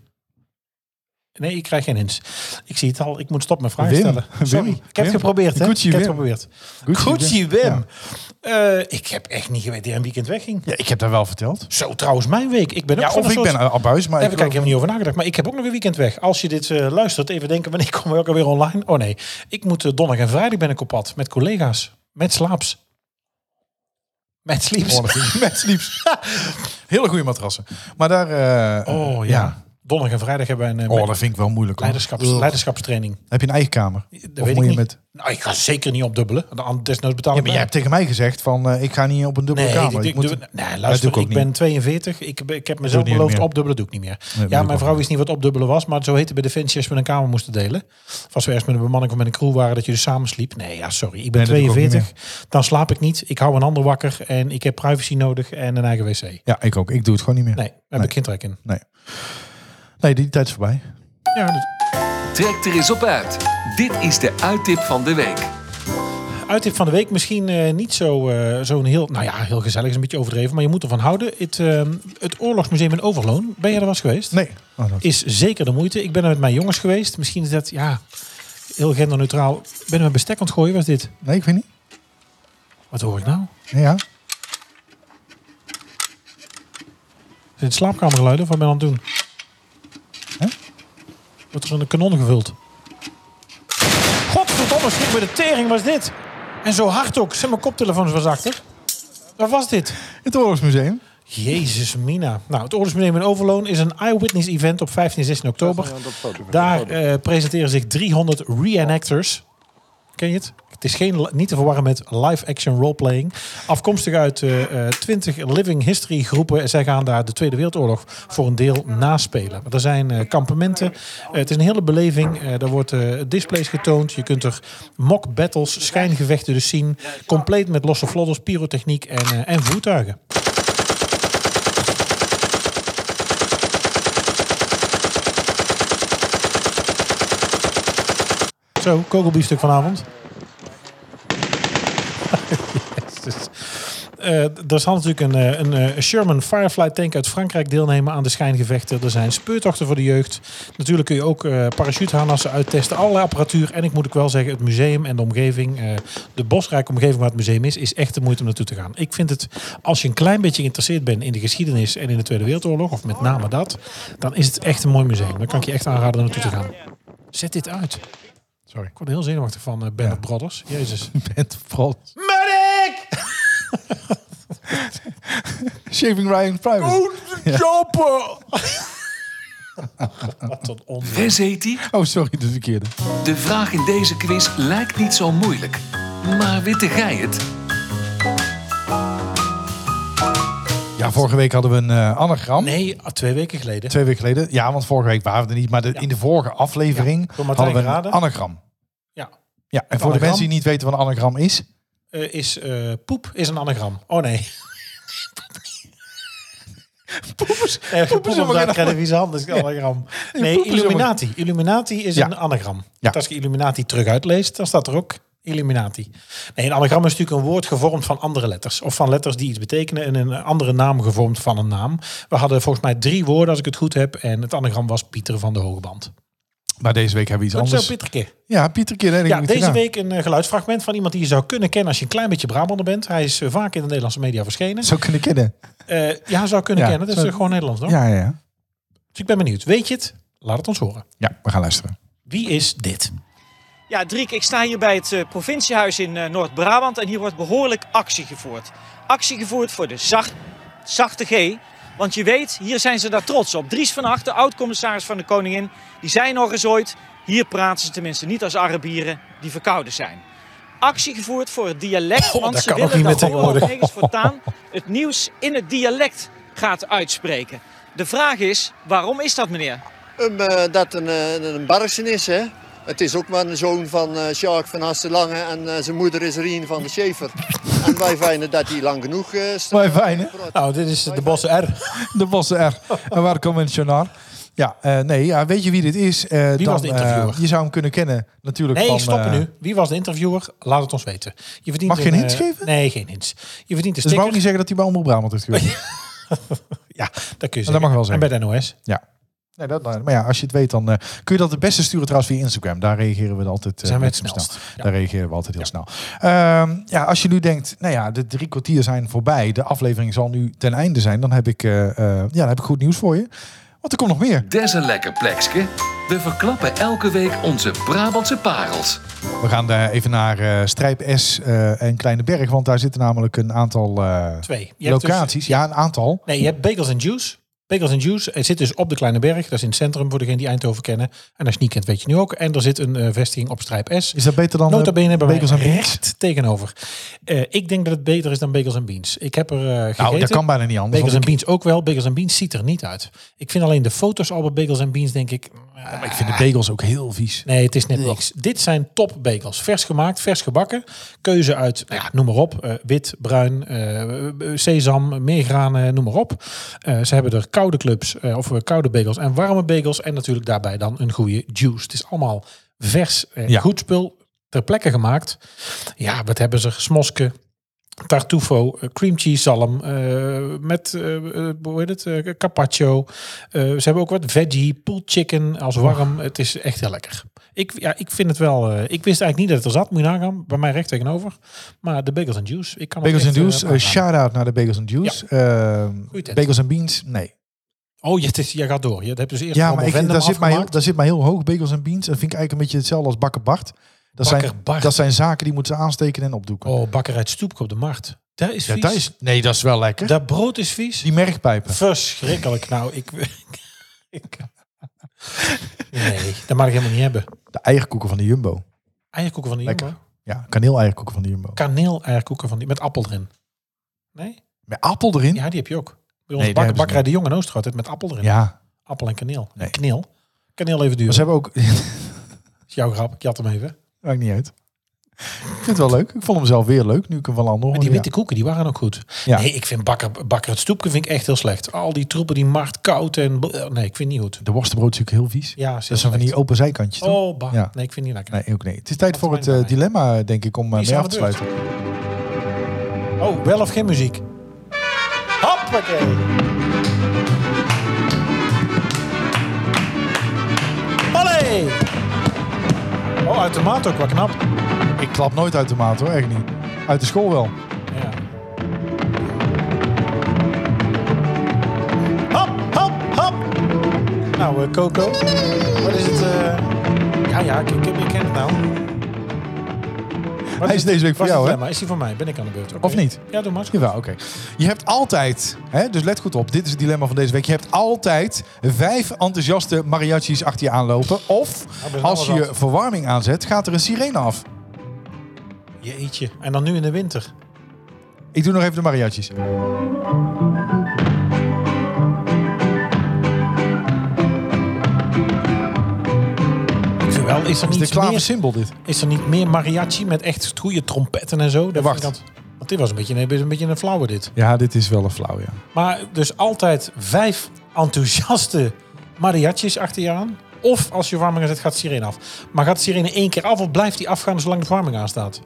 Nee, ik krijg geen hints. Ik zie het al. Ik moet stop met vragen
Wim.
stellen.
Wim.
Sorry. Ik heb het
Wim.
geprobeerd, hè?
Gucci
ik heb het
Wim.
geprobeerd.
Gucci
Gucci
Wim.
Wim. Eh, ik heb echt niet geweten dat hij een weekend wegging.
Ja, ik heb daar wel verteld.
Zo trouwens mijn week. Ik ben ook
Ja,
van
of
een
ik
soort...
ben abuis, maar...
Daar
ik
heb ik eigenlijk helemaal niet over nagedacht. Maar ik heb ook nog een weekend weg. Als je dit eh, luistert, even denken wanneer komen we ook alweer online? Oh nee, ik moet eh, donderdag en vrijdag ben ik op pad. Met collega's. Met slaaps. Met sleeps.
Oh, dat vind ik- Met liefst. Hele goede matrassen. Maar daar... eh,
Oh ja. Donderdag en vrijdag hebben wij een eh,
Oh, dat vind ik wel moeilijk. hoor.
leiderschaps,
Ugh.
leiderschapstraining.
Heb je een eigen kamer?
Dat
of
weet
moet
ik
je
niet.
met... Oh,
Nou, ik ga zeker niet opdubbelen. Dan desnoods
Ja,
betalen
maar jij hebt tegen mij gezegd van eh, ik ga niet op een dubbele
Nee,
kamer.
ik,
Ik
ik
moet-
doe- nee,
doe
luister,
ik
ik,
ook niet.
ben 42. Ik, heb- ik heb mezelf
niet
beloofd
meer.
opdubbelen doe ik niet meer.
dat doe
ja,
ik
mijn
ook
vrouw
niet.
wist niet wat opdubbelen was, maar zo heette bij Defensie als we een kamer moesten delen. Of als we ergens met een bemanning of met een crew waren, dat je dus samen sliep. Nee, ja, sorry. Ik
Nee,
ben
dat doe ik ook
42. Dan slaap ik niet. Ik hou een ander wakker en ik heb privacy nodig en een eigen wc. Nee,
Ja, ik ook. Ik doe het gewoon niet meer.
daar
Nee,
heb ik geen trek in.
die tijd is voorbij.
Ja, dus,
Trek er eens op uit. Dit is de uittip van de week.
uittip van de week misschien eh, niet zo, eh, zo'n heel, nou ja, heel gezellig is een beetje overdreven, maar je moet ervan houden. Het, eh, het Oorlogsmuseum in Overloon, ben jij er was geweest?
Nee. Oh, dat-
is zeker de moeite. Ik ben er met mijn jongens geweest. Misschien is dat, ja, heel genderneutraal. Ik Ben er met bestek aan het gooien, was dit?
Nee, ik weet niet.
Wat hoor ik nou?
Nee, ja.
Zijn het slaapkamergeluiden? Wat ben ik aan het doen?
Hè?
Wordt er een kanon gevuld? Godverdomme, schrik met de tering was dit. En zo hard ook. Zet mijn koptelefoons was achter. Wat was dit?
Het Oorlogsmuseum.
Jezus, Mina. Nou, het Oorlogsmuseum in Overloon is een eyewitness-event op 15 en 16 oktober. Daar eh, presenteren zich 300 reenactors. Ken je het? Het is geen, niet te verwarren met live-action roleplaying. Afkomstig uit eh, eh, 20 living history groepen. Zij gaan daar de Tweede Wereldoorlog voor een deel naspelen. Er zijn eh, kampementen. Eh, het is een hele beleving. Eh daar wordt eh, displays getoond. Je kunt er mock battles, schijngevechten dus zien. Compleet met losse vlodders, pyrotechniek en, eh, en voertuigen. Zo, kogelbiefstuk vanavond. Jezus. Eh, er zal natuurlijk een, eh, een eh, Sherman Firefly tank uit Frankrijk deelnemen aan de schijngevechten. Er zijn speurtochten voor de jeugd. Natuurlijk kun je ook eh parachuteharnassen uittesten. Allerlei apparatuur. En ik moet ook wel zeggen, het museum en de omgeving, eh, de bosrijke omgeving waar het museum is, is echt de moeite om naartoe te gaan. Ik vind het, als je een klein beetje geïnteresseerd bent in de geschiedenis en in de Tweede Wereldoorlog, of met name dat, dan is het echt een mooi museum. Dan kan ik je echt aanraden om naartoe te gaan. Zet dit uit.
Sorry.
Ik word er heel zenuwachtig van eh Band of Brothers. Jezus.
Bent vooral
Medic!
Shaving Ryan Private. Oh,
Jopper! Wat een onzin.
Wes heet die?
Oh, sorry, de verkeerde.
De vraag in deze quiz lijkt niet zo moeilijk. Maar witte gij het?
Ja, vorige week hadden we een eh, anagram.
Nee, ah, twee weken geleden.
Twee weken geleden. Ja, want vorige week waren we er niet. Maar de, in de vorige aflevering
Ja, door Martijn
hadden we een
geraden.
anagram.
Ja.
Ja, en voor de
anagram.
mensen die niet weten wat een anagram is.
Eh, is eh, poep is een anagram. Oh nee. Poepers, nee, poep
een anagram.
is een wie zijn hand is een anagram. Nee,
poep is een
Illuminati. Illuminati is
Ja.
een anagram.
Ja.
Want Als je Illuminati terug uitleest, dan staat er ook Illuminati. Nee, een anagram is natuurlijk een woord gevormd van andere letters. Of van letters die iets betekenen en een andere naam gevormd van een naam. We hadden volgens mij drie woorden, als ik het goed heb. En het anagram was Pieter van de Hogeband.
Maar deze week hebben we iets
Goed zo,
anders.
Pieterke.
Ja, Pieter Keer. hè,
Ja,
denk ik
deze
gedaan.
week een eh, geluidsfragment van iemand die je zou kunnen kennen als je een klein beetje Brabander bent. Hij is eh, vaak in de Nederlandse media verschenen.
Zou kunnen kennen.
Eh, ja, zou kunnen
Ja,
kennen. Dat is
zo-
eh, gewoon Nederlands, hoor.
Oh. Ja, ja, ja.
Dus ik ben benieuwd. Weet je het? Laat het ons horen.
Ja, we gaan luisteren.
Wie is dit?
Ja, Driek, ik sta hier bij het eh, provinciehuis in eh, Noord-Brabant en hier wordt behoorlijk actie gevoerd. Actie gevoerd voor de zacht, zachte G. Want je weet, hier zijn ze daar trots op. Dries van Acht, de oud-commissaris van de Koningin, die zei nog eens ooit... hier praten ze tenminste niet als Arabieren die verkouden zijn. Actie gevoerd voor het dialect,
Oh,
want
dat
ze
kan ook
willen
niet meer
dat
tegenwoordig.
Hollanders voortaan het nieuws in het dialect gaat uitspreken. De vraag is, waarom is dat, meneer?
eh, dat een, een Bergsen is, hè? Het is ook maar een zoon van uh, Sjaak van Hastelange en eh, zijn moeder is Rien van de Schaefer. en wij vinden dat hij lang genoeg eh,
Wij fijn, hè?
Nou, dit is de Bosse R.
De bossen er. En waar komt het journaal? Ja, eh, nee, ja, weet je wie dit is? Eh,
Wie
dan,
was de interviewer?
eh, je zou hem kunnen kennen, natuurlijk.
Nee,
van,
stop er
eh,
nu. Wie was de interviewer? Laat het ons weten. Je verdient
Mag je
een,
hints
eh,
geven?
Nee, geen hints. Je verdient
Dus
een
wou ik
sticker.
niet zeggen dat hij bij Omroep Brabant heeft gewerkt.
Ja, dat kun je
Nou, Dat mag
zeggen.
wel zeggen.
En bij de NOS.
Ja. Nee, dat, maar ja, als je het weet, dan eh, kun je dat het beste sturen trouwens via Instagram. Daar reageren we altijd eh,
Zijn we het
best wel
snelst. Ja.
Daar reageren we altijd heel snel. Ehm, ja, als je nu denkt, nou ja, de drie kwartier zijn voorbij. De aflevering zal nu ten einde zijn. Dan heb ik, eh, eh, ja, dan heb ik goed nieuws voor je. Want er komt nog meer.
Des een lekker plekske. We verklappen elke week onze Brabantse parels.
We gaan daar even naar eh, Strijp S eh, en Kleine Berg. Want daar zitten namelijk een aantal eh,
Twee. Je hebt dus-
locaties. ja, een aantal.
nee, je hebt Bagels and Juice. Bagels and Juice eh, zit dus op de Kleine Berg. Dat is in het centrum voor degenen die Eindhoven kennen. En als je niet kent, weet je nu ook. En er zit een eh, vestiging op Strijp S.
Is dat beter dan eh,
Nota bene bij
Bagels
mij
en Beans?
recht tegenover. Eh, ik denk dat het beter is dan Bagels and Beans. Ik heb er eh gegeten.
Nou, dat kan bijna niet anders.
Bagels
want
and Beans ook wel. Bagels and Beans ziet er niet uit. Ik vind alleen de foto's al bij Bagels and Beans, denk ik...
ik- maar ik vind de bagels ook heel vies.
Nee, het is net niks. Dit zijn top bagels. Vers gemaakt, vers gebakken. Keuze uit, nou ja, noem maar op. eh, wit, bruin, eh, sesam, meergranen, noem maar op. Eh, ze hebben er koude clubs, eh, of eh, koude bagels en warme bagels. En natuurlijk daarbij dan een goede juice. Het is allemaal vers, eh,
Ja.
goed spul, ter plekke gemaakt. Ja, wat hebben ze? Smosken, tartufo, eh, cream cheese zalm, eh, met, eh, eh, hoe heet het, Eh, carpaccio. Eh, ze hebben ook wat veggie, pulled chicken als warm. Het is echt heel lekker. Ik, ja, ik vind het wel, eh, ik wist eigenlijk niet dat het er zat, moet je nagaan, bij mij recht tegenover. Maar de bagels and juice, ik kan het
Bagels and
echt, eh,
Juice, eh,
aanraden.
shout-out naar de Bagels and Juice. Ehm,
Goeie tent.
bagels and Beans, nee.
Oh, je, het is, je gaat door. Je hebt dus eerst
Ja, maar ik,
Promovendum
daar, zit mij heel,
afgemaakt.
daar zit mij heel hoog Bagels and Beans. Dat vind ik eigenlijk een beetje hetzelfde als Bakker Bart. Dat, zijn,
Bakker Bart.
dat zijn zaken die moeten ze aansteken en opdoeken.
Oh, bakker uit Stoepke op de markt. Daar is
ja,
vies.
dat, is, nee, dat is wel lekker.
Dat brood is vies.
Die merkpijpen.
Verschrikkelijk. Nou, ik... ik nee, dat mag ik helemaal niet hebben.
De eierkoeken van de Jumbo.
Eierkoeken van de
Lekker.
Jumbo.
Ja, kaneel-eierkoeken van de Jumbo.
Kaneel eierkoeken van die, met appel erin. Nee?
Met appel erin? Ja.
Ja, die heb je ook. Bij ons
Hm? Nee, die
bakker,
hebben ze
bakkerij de Jong en Oosterhout het met appel erin. Appel en kaneel.
Nee.
Kneel. Kaneel even
Maar
duur.
ze hebben ook...
Is jouw grap. Ik had hem even.
Maakt niet uit. Ik vind het wel leuk. Ik vond hem zelf weer leuk. Nu ik hem van anderen
Maar die witte koeken, die waren ook goed.
Ja.
Nee, ik vind bakker, bakker het stoepje vind ik echt heel slecht. Al die troepen, die markt koud en... bl- Nee, ik vind het niet goed.
De worstenbrood is natuurlijk heel vies.
Ja,
Dat zijn van die open zijkantjes. toch?
Oh, bah.
Ja.
Nee, ik vind die lekker.
Nee, ook nee. Het is tijd
Wat
voor het
fijn
eh,
bij.
dilemma, denk ik, om eh,
is
mee
aan
af te
de beurt.
sluiten.
Oh, wel of geen muziek? Hoppakee! Allee! Oh, uit de maat ook, wat knap.
Ik klap nooit uit de maat hoor, echt niet. Uit de school wel.
Ja. Hop, hop, hop! Nou, eh, Coco, wat is het? eh? Ja, ja, ik, ik, ik ken het nou. Wat
Hij is deze week voor
was
jou,
het
hè?
dilemma? Is hij voor mij? Ben ik aan de beurt? Oké.
Of niet?
Ja, doe maar.
Jawel, oké. Je hebt altijd, hè, dus let goed op, dit is het dilemma van deze week. Je hebt altijd vijf enthousiaste mariachis achter je aanlopen. Of
dat is
als
wel
je
wat.
verwarming aanzet, gaat er een sirene af.
Jeetje. En dan nu in de winter.
Ik doe nog even de mariachis.
Ik vind wel, is er
Dat is
niet
de klave
meer,
symbool dit.
is er niet meer mariachi met echt goede trompetten en zo? Dat
Wacht.
vind ik dat- want dit was een beetje, een, een beetje een flauwe dit.
Ja, dit is wel een flauw, ja.
Maar dus altijd vijf enthousiaste mariachis achter je aan. Of als je verwarming aanzet, gaat de sirene af. Maar gaat de sirene één keer af of blijft die afgaan zolang de verwarming aanstaat?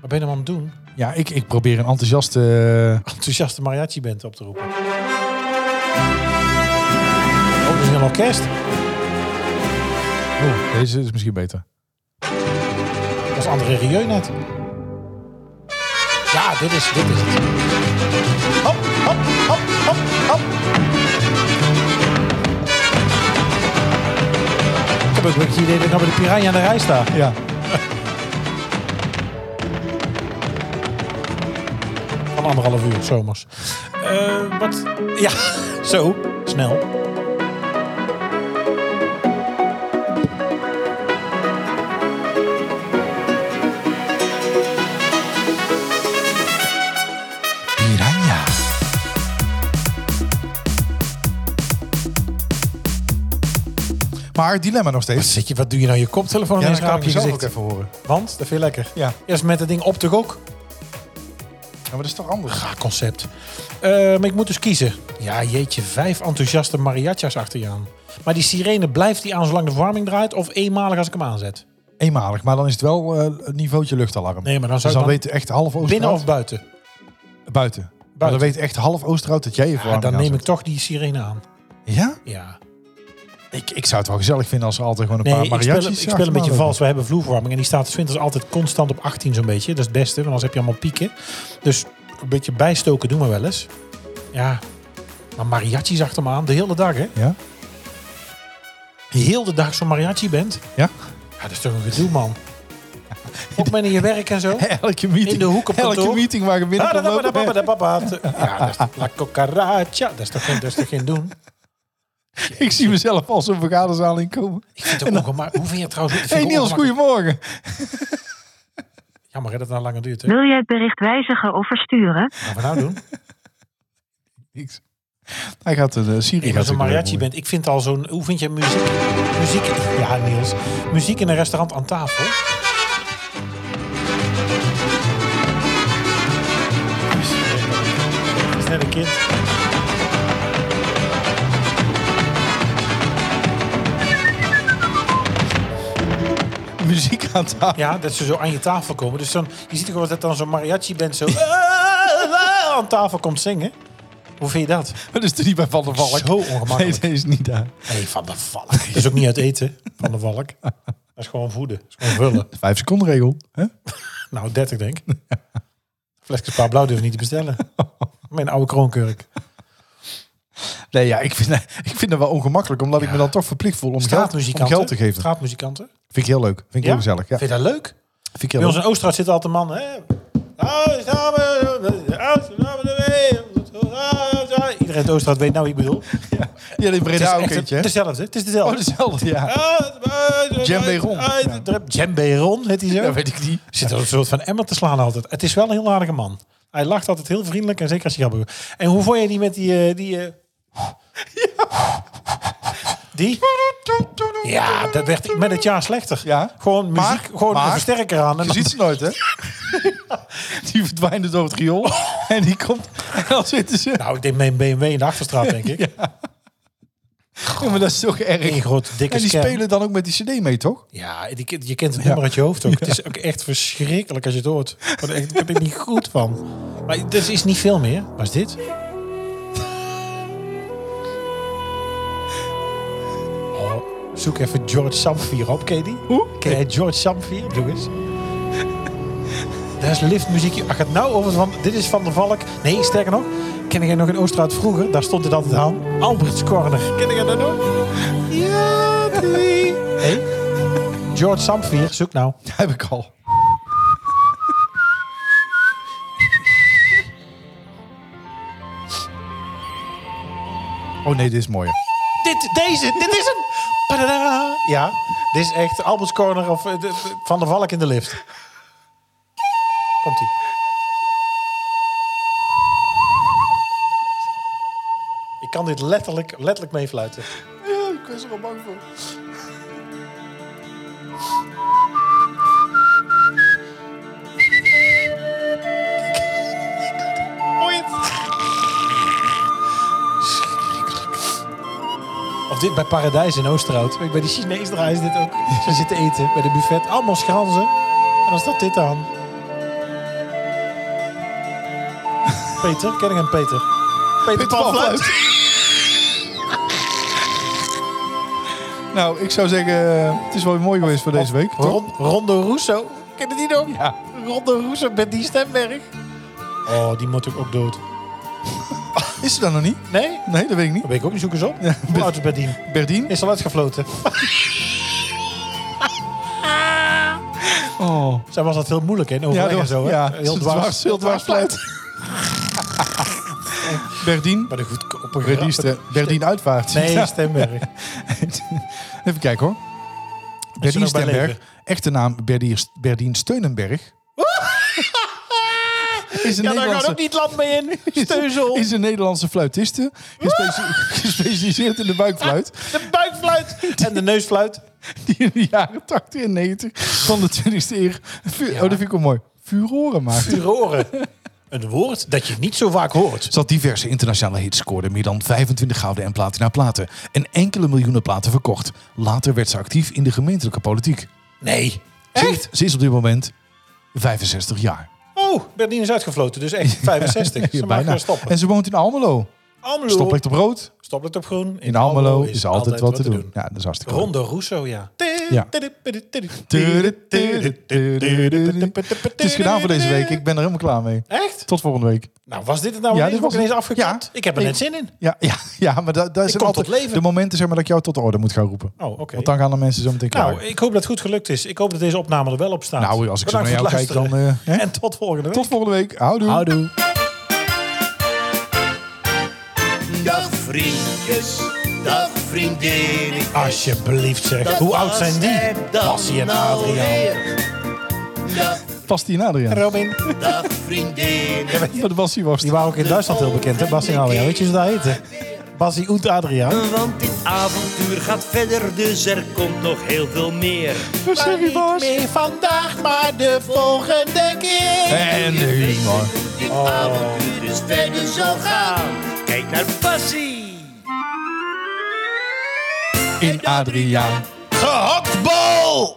Wat ben je nou aan het doen?
Ja, ik, ik probeer een enthousiaste...
Enthousiaste mariachi bent op te roepen. Oh, dat is een orkest.
Oh, deze is misschien beter.
Dat is André Rieu net. Ja, dit is, dit is het. Hop, hop, hop, hop, hop. Ik heb ook een beetje het idee dat ik nou bij de piranha aan de rij sta.
Ja.
Van anderhalf uur, zomers. Eh wat? Ja, zo. Snel.
Piranha. Maar het dilemma nog steeds.
Zit je, wat doe je nou je koptelefoon
Ja,
in
dan
zijn
kan ik
kaapje
mezelf
gezicht?
ook even horen.
Want, dat vind je lekker.
Ja.
Eerst met dat ding op de ook.
ja, maar dat is toch anders?
Ah, concept. Eh, maar ik moet dus kiezen. Ja, jeetje, vijf enthousiaste mariachas achter je aan. Maar die sirene, blijft die aan zolang de verwarming draait? Of eenmalig als ik hem aanzet?
Eenmalig, maar dan is het wel eh, een niveautje luchtalarm.
Nee, maar dan
dus
zou
dan
ik dan
weet echt half Oosterhout...
binnen of buiten?
buiten? Maar dan weet echt half Oosterhout dat jij je
Ja,
verwarming
dan neem ik
aanzet.
toch die sirene aan.
Ja?
Ja.
Ik, ik zou het wel gezellig vinden als er altijd gewoon een paar
Nee,
nou,
ik speel,
mariachis...
ik speel
achter
een beetje
me
vals. We hebben vloerverwarming en die staat winters altijd constant op 18 zo'n beetje. Dat is het beste, want anders heb je allemaal pieken. Dus een beetje bijstoken doen we wel eens. Ja, maar mariachis achter me aan. De hele dag, hè?
Ja.
Heel de dag zo'n mariachi bent.
Ja?
Ja, dat is toch een gedoe, man. Ook met in je werk en zo.
Elke meeting,
In de hoek op
elke
kantoor. Ah,
meeting waar je binnen komt lopen.
Ja, dat is, la cucaracha. Dat is toch geen, dat is toch geen doen?
Ik zie mezelf al zo'n vergaderzaal inkomen.
Ik vind het ook ongemakkelijk. Hoe vind je het trouwens? dat
Hé
vind
hey
ik
Niels,
ongemakkelijk.
goedemorgen.
Jammer hè, dat het nou langer duurt. Hè?
Wil je het bericht wijzigen of versturen?
Wat gaan we nou doen?
Niks. Hij gaat een uh, Siri.
Ik
gaat
als een
natuurlijk
mariachi
weer
bent, ik vind al zo'n... Hoe vind je muziek? Muziek... Ja, Niels. Muziek in een restaurant aan tafel. Dat is net een kind.
moeilijk. Muziek aan tafel.
Ja, dat ze zo aan je tafel komen. Dus dan, je ziet ook wel dat dan zo'n mariachi bent zo... eh, aan tafel komt zingen. Hoe vind je dat?
Dat is toch niet bij Van der Valk?
Zo ongemakkelijk.
Nee, dat is niet daar.
Nee, Van de Valk. Dat is ook niet uit eten, Van de Valk. Dat is gewoon voeden. Dat is gewoon vullen.
Vijf seconden regel. Hè?
Nou, 30 denk ik. Flesjes paar blauw durf ik niet te bestellen. Mijn oude kroonkurk.
Nee, ja, ik vind, ik vind dat wel ongemakkelijk. Omdat ik me dan toch verplicht voel om geld, om
Straatmuzikanten.
geld te geven.
Straatmuzikanten.
Vind ik heel leuk. Vind ik heel gezellig. Ja.
Vind je dat leuk?
Vind ik heel
Bij ons
leuk.
in Oosterhout zit altijd een man. Hè? Ah, Iedereen in Oosterhout weet nou wie ik bedoel.
Ja, die
Het is
Breda ook
echt
eentje. hè?
Dezelfde. Het is dezelfde. Ah,
Oh, dezelfde, ja. Djembe Ron.
Djembe Ron, heet hij zo.
Dat weet ik niet.
Zit er een soort van emmer te slaan altijd. Het is wel een heel aardige man. Hij lacht altijd heel vriendelijk en zeker als hij grappig En hoe vond je die met die... eh, die eh, Die? Ja, dat werd met het jaar slechter.
Ja.
Gewoon muziek,
Maar-
gewoon
maar-
een versterker aan. En
Je
dan-
ziet ze nooit, hè? Die verdwijnt dus door het riool. En die komt... En dan zitten ze...
Nou, ik deed mijn BMW in de Achterstraat, denk ik.
Ja, maar dat is toch erg.
Eén grote dikke
En die
scam.
spelen dan ook met die cd mee, toch?
Ja, die, kent- je kent het nummer uit je hoofd ook. Het is ook echt verschrikkelijk als je het hoort. Want echt, daar ben ik niet goed van. Maar er is niet veel meer. Was dit? Oh, zoek even George Sampier op, ken je die? Hoe? Ken jij George Sampier? Doe eens. Daar is liftmuziekje. Ach, het nou over van... Dit is Van der Valk. Nee, sterker nog. Ken jij nog in Oostraat vroeger? Daar stond het altijd aan. Albert's Corner. Ken jij dat nog? Ja, doei. Hey. George Sampier, zoek nou.
Dat heb ik al. Oh nee, dit is mooier.
Dit, deze, dit is hem. Padada. Ja, dit is echt Albert's Corner of eh, de- de- Van der Valk in de lift. Komt-ie. Ik kan dit letterlijk, letterlijk meefluiten.
Ja, ik was er al bang voor.
Mooi. Of dit bij Paradijs in Oosterhout. Weet je, Bij die Chinees draaien ze dit ook. Ze zitten eten bij de buffet. Allemaal schranzen. En dan staat dit aan. Peter, ken ik hem Peter? Peter Pamfluit.
Nou, ik zou zeggen, eh, het is wel weer mooi geweest voor deze week. toch?
Ron- Rondo Russo. Ken je die nog?
Ja.
Rondo Russo met die stemberg. Oh, die moet ik ook dood.
Is ze dan nog niet?
Nee?
Nee, dat weet ik niet.
Dat weet ik ook niet. Zoek eens op. Hoe oud is Bedien?
Berdien?
Is al uitgefloten.
Oh.
Zij was dat heel moeilijk, hè? in Overleg en zo, hè?
ja,
heel dwars.
Heel dwars fluit. Berdien.
Maar de goedkope
Berdien,
grap.
ste- Berdien Uitvaart.
Nee,
Ja.
Stemberg.
Even kijken hoor. Berdien
nog bij
Stemberg.
leven?
Echte naam Berdien, Berdien Steunenberg. Is een
Ja, daar gaat
Nederlandse-
ook niet land mee in. Steuzel.
Is een Nederlandse fluitiste. gespeci- Gespecialiseerd in de buikfluit.
De buikfluit. En de neusfluit.
Die in de jaren 80 en 90 van de 20e eeuw. Fu- Oh, dat vind ik wel mooi. Furoren maakte.
Furoren. Een woord dat je niet zo vaak hoort.
Zat diverse internationale hits scoorde meer dan 25 gouden en platina platen. En enkele miljoenen platen verkocht. Later werd ze actief in de gemeentelijke politiek.
Nee.
Ze- Ze is op dit moment 65 jaar.
Oh, Berdien is uitgefloten. Dus echt 65. Ze mag weer stoppen.
En ze woont in Almelo.
Almelo.
Stoplicht op rood.
Stoplicht op groen.
In Almelo is altijd wat te doen. Ja, dat is hartstikke leuk.
Rondo Russo, ja.
Ja. Het is gedaan voor deze week. Ik ben er helemaal klaar mee.
Echt?
Tot volgende week.
Nou, was dit het nou?
Ja,
Ja, dit
dit
was
was
ineens
het.
afgekapt.
Ja.
Ik heb er
Ik-
net zin in.
Ja, ja, ja maar daar, daar
Ik
zijn
kom tot
altijd
leven.
de momenten zeg maar, dat ik jou tot de orde moet gaan roepen.
Oh, oké.
Want dan gaan de mensen zo meteen klaar.
Nou, ik hoop dat het goed gelukt is. Ik hoop dat deze opname er wel op staat.
Nou, als ik zo naar
Bedankt voor
jou
het
kijk,
luisteren.
dan, eh, hè?
En tot volgende week.
tot volgende week. Houdoe.
Houdoe.
Dag vriendjes, dag vriendinnen.
Alsjeblieft zeg.
Dat
Hoe oud zijn die?
was het dan nou
Passie en Adriaan.
alweer. Dag,
Past die in Adriaan?
Robin.
dag vriendinnen.
Wat was die was?
Die waren ook in Duitsland heel bekend, hè? Bassie en Adriaan. Weet je hoe ze daar heten? Bassie und Adriaan.
Want dit avontuur gaat verder, dus er komt nog heel veel meer.
Wat zeg je, Bas?
Meer vandaag, maar de volgende keer.
En de humor.
Dit
Oh.
avontuur is verder zal gaan. Kijk naar Passie.
In Adriaan.
Gehaktbal!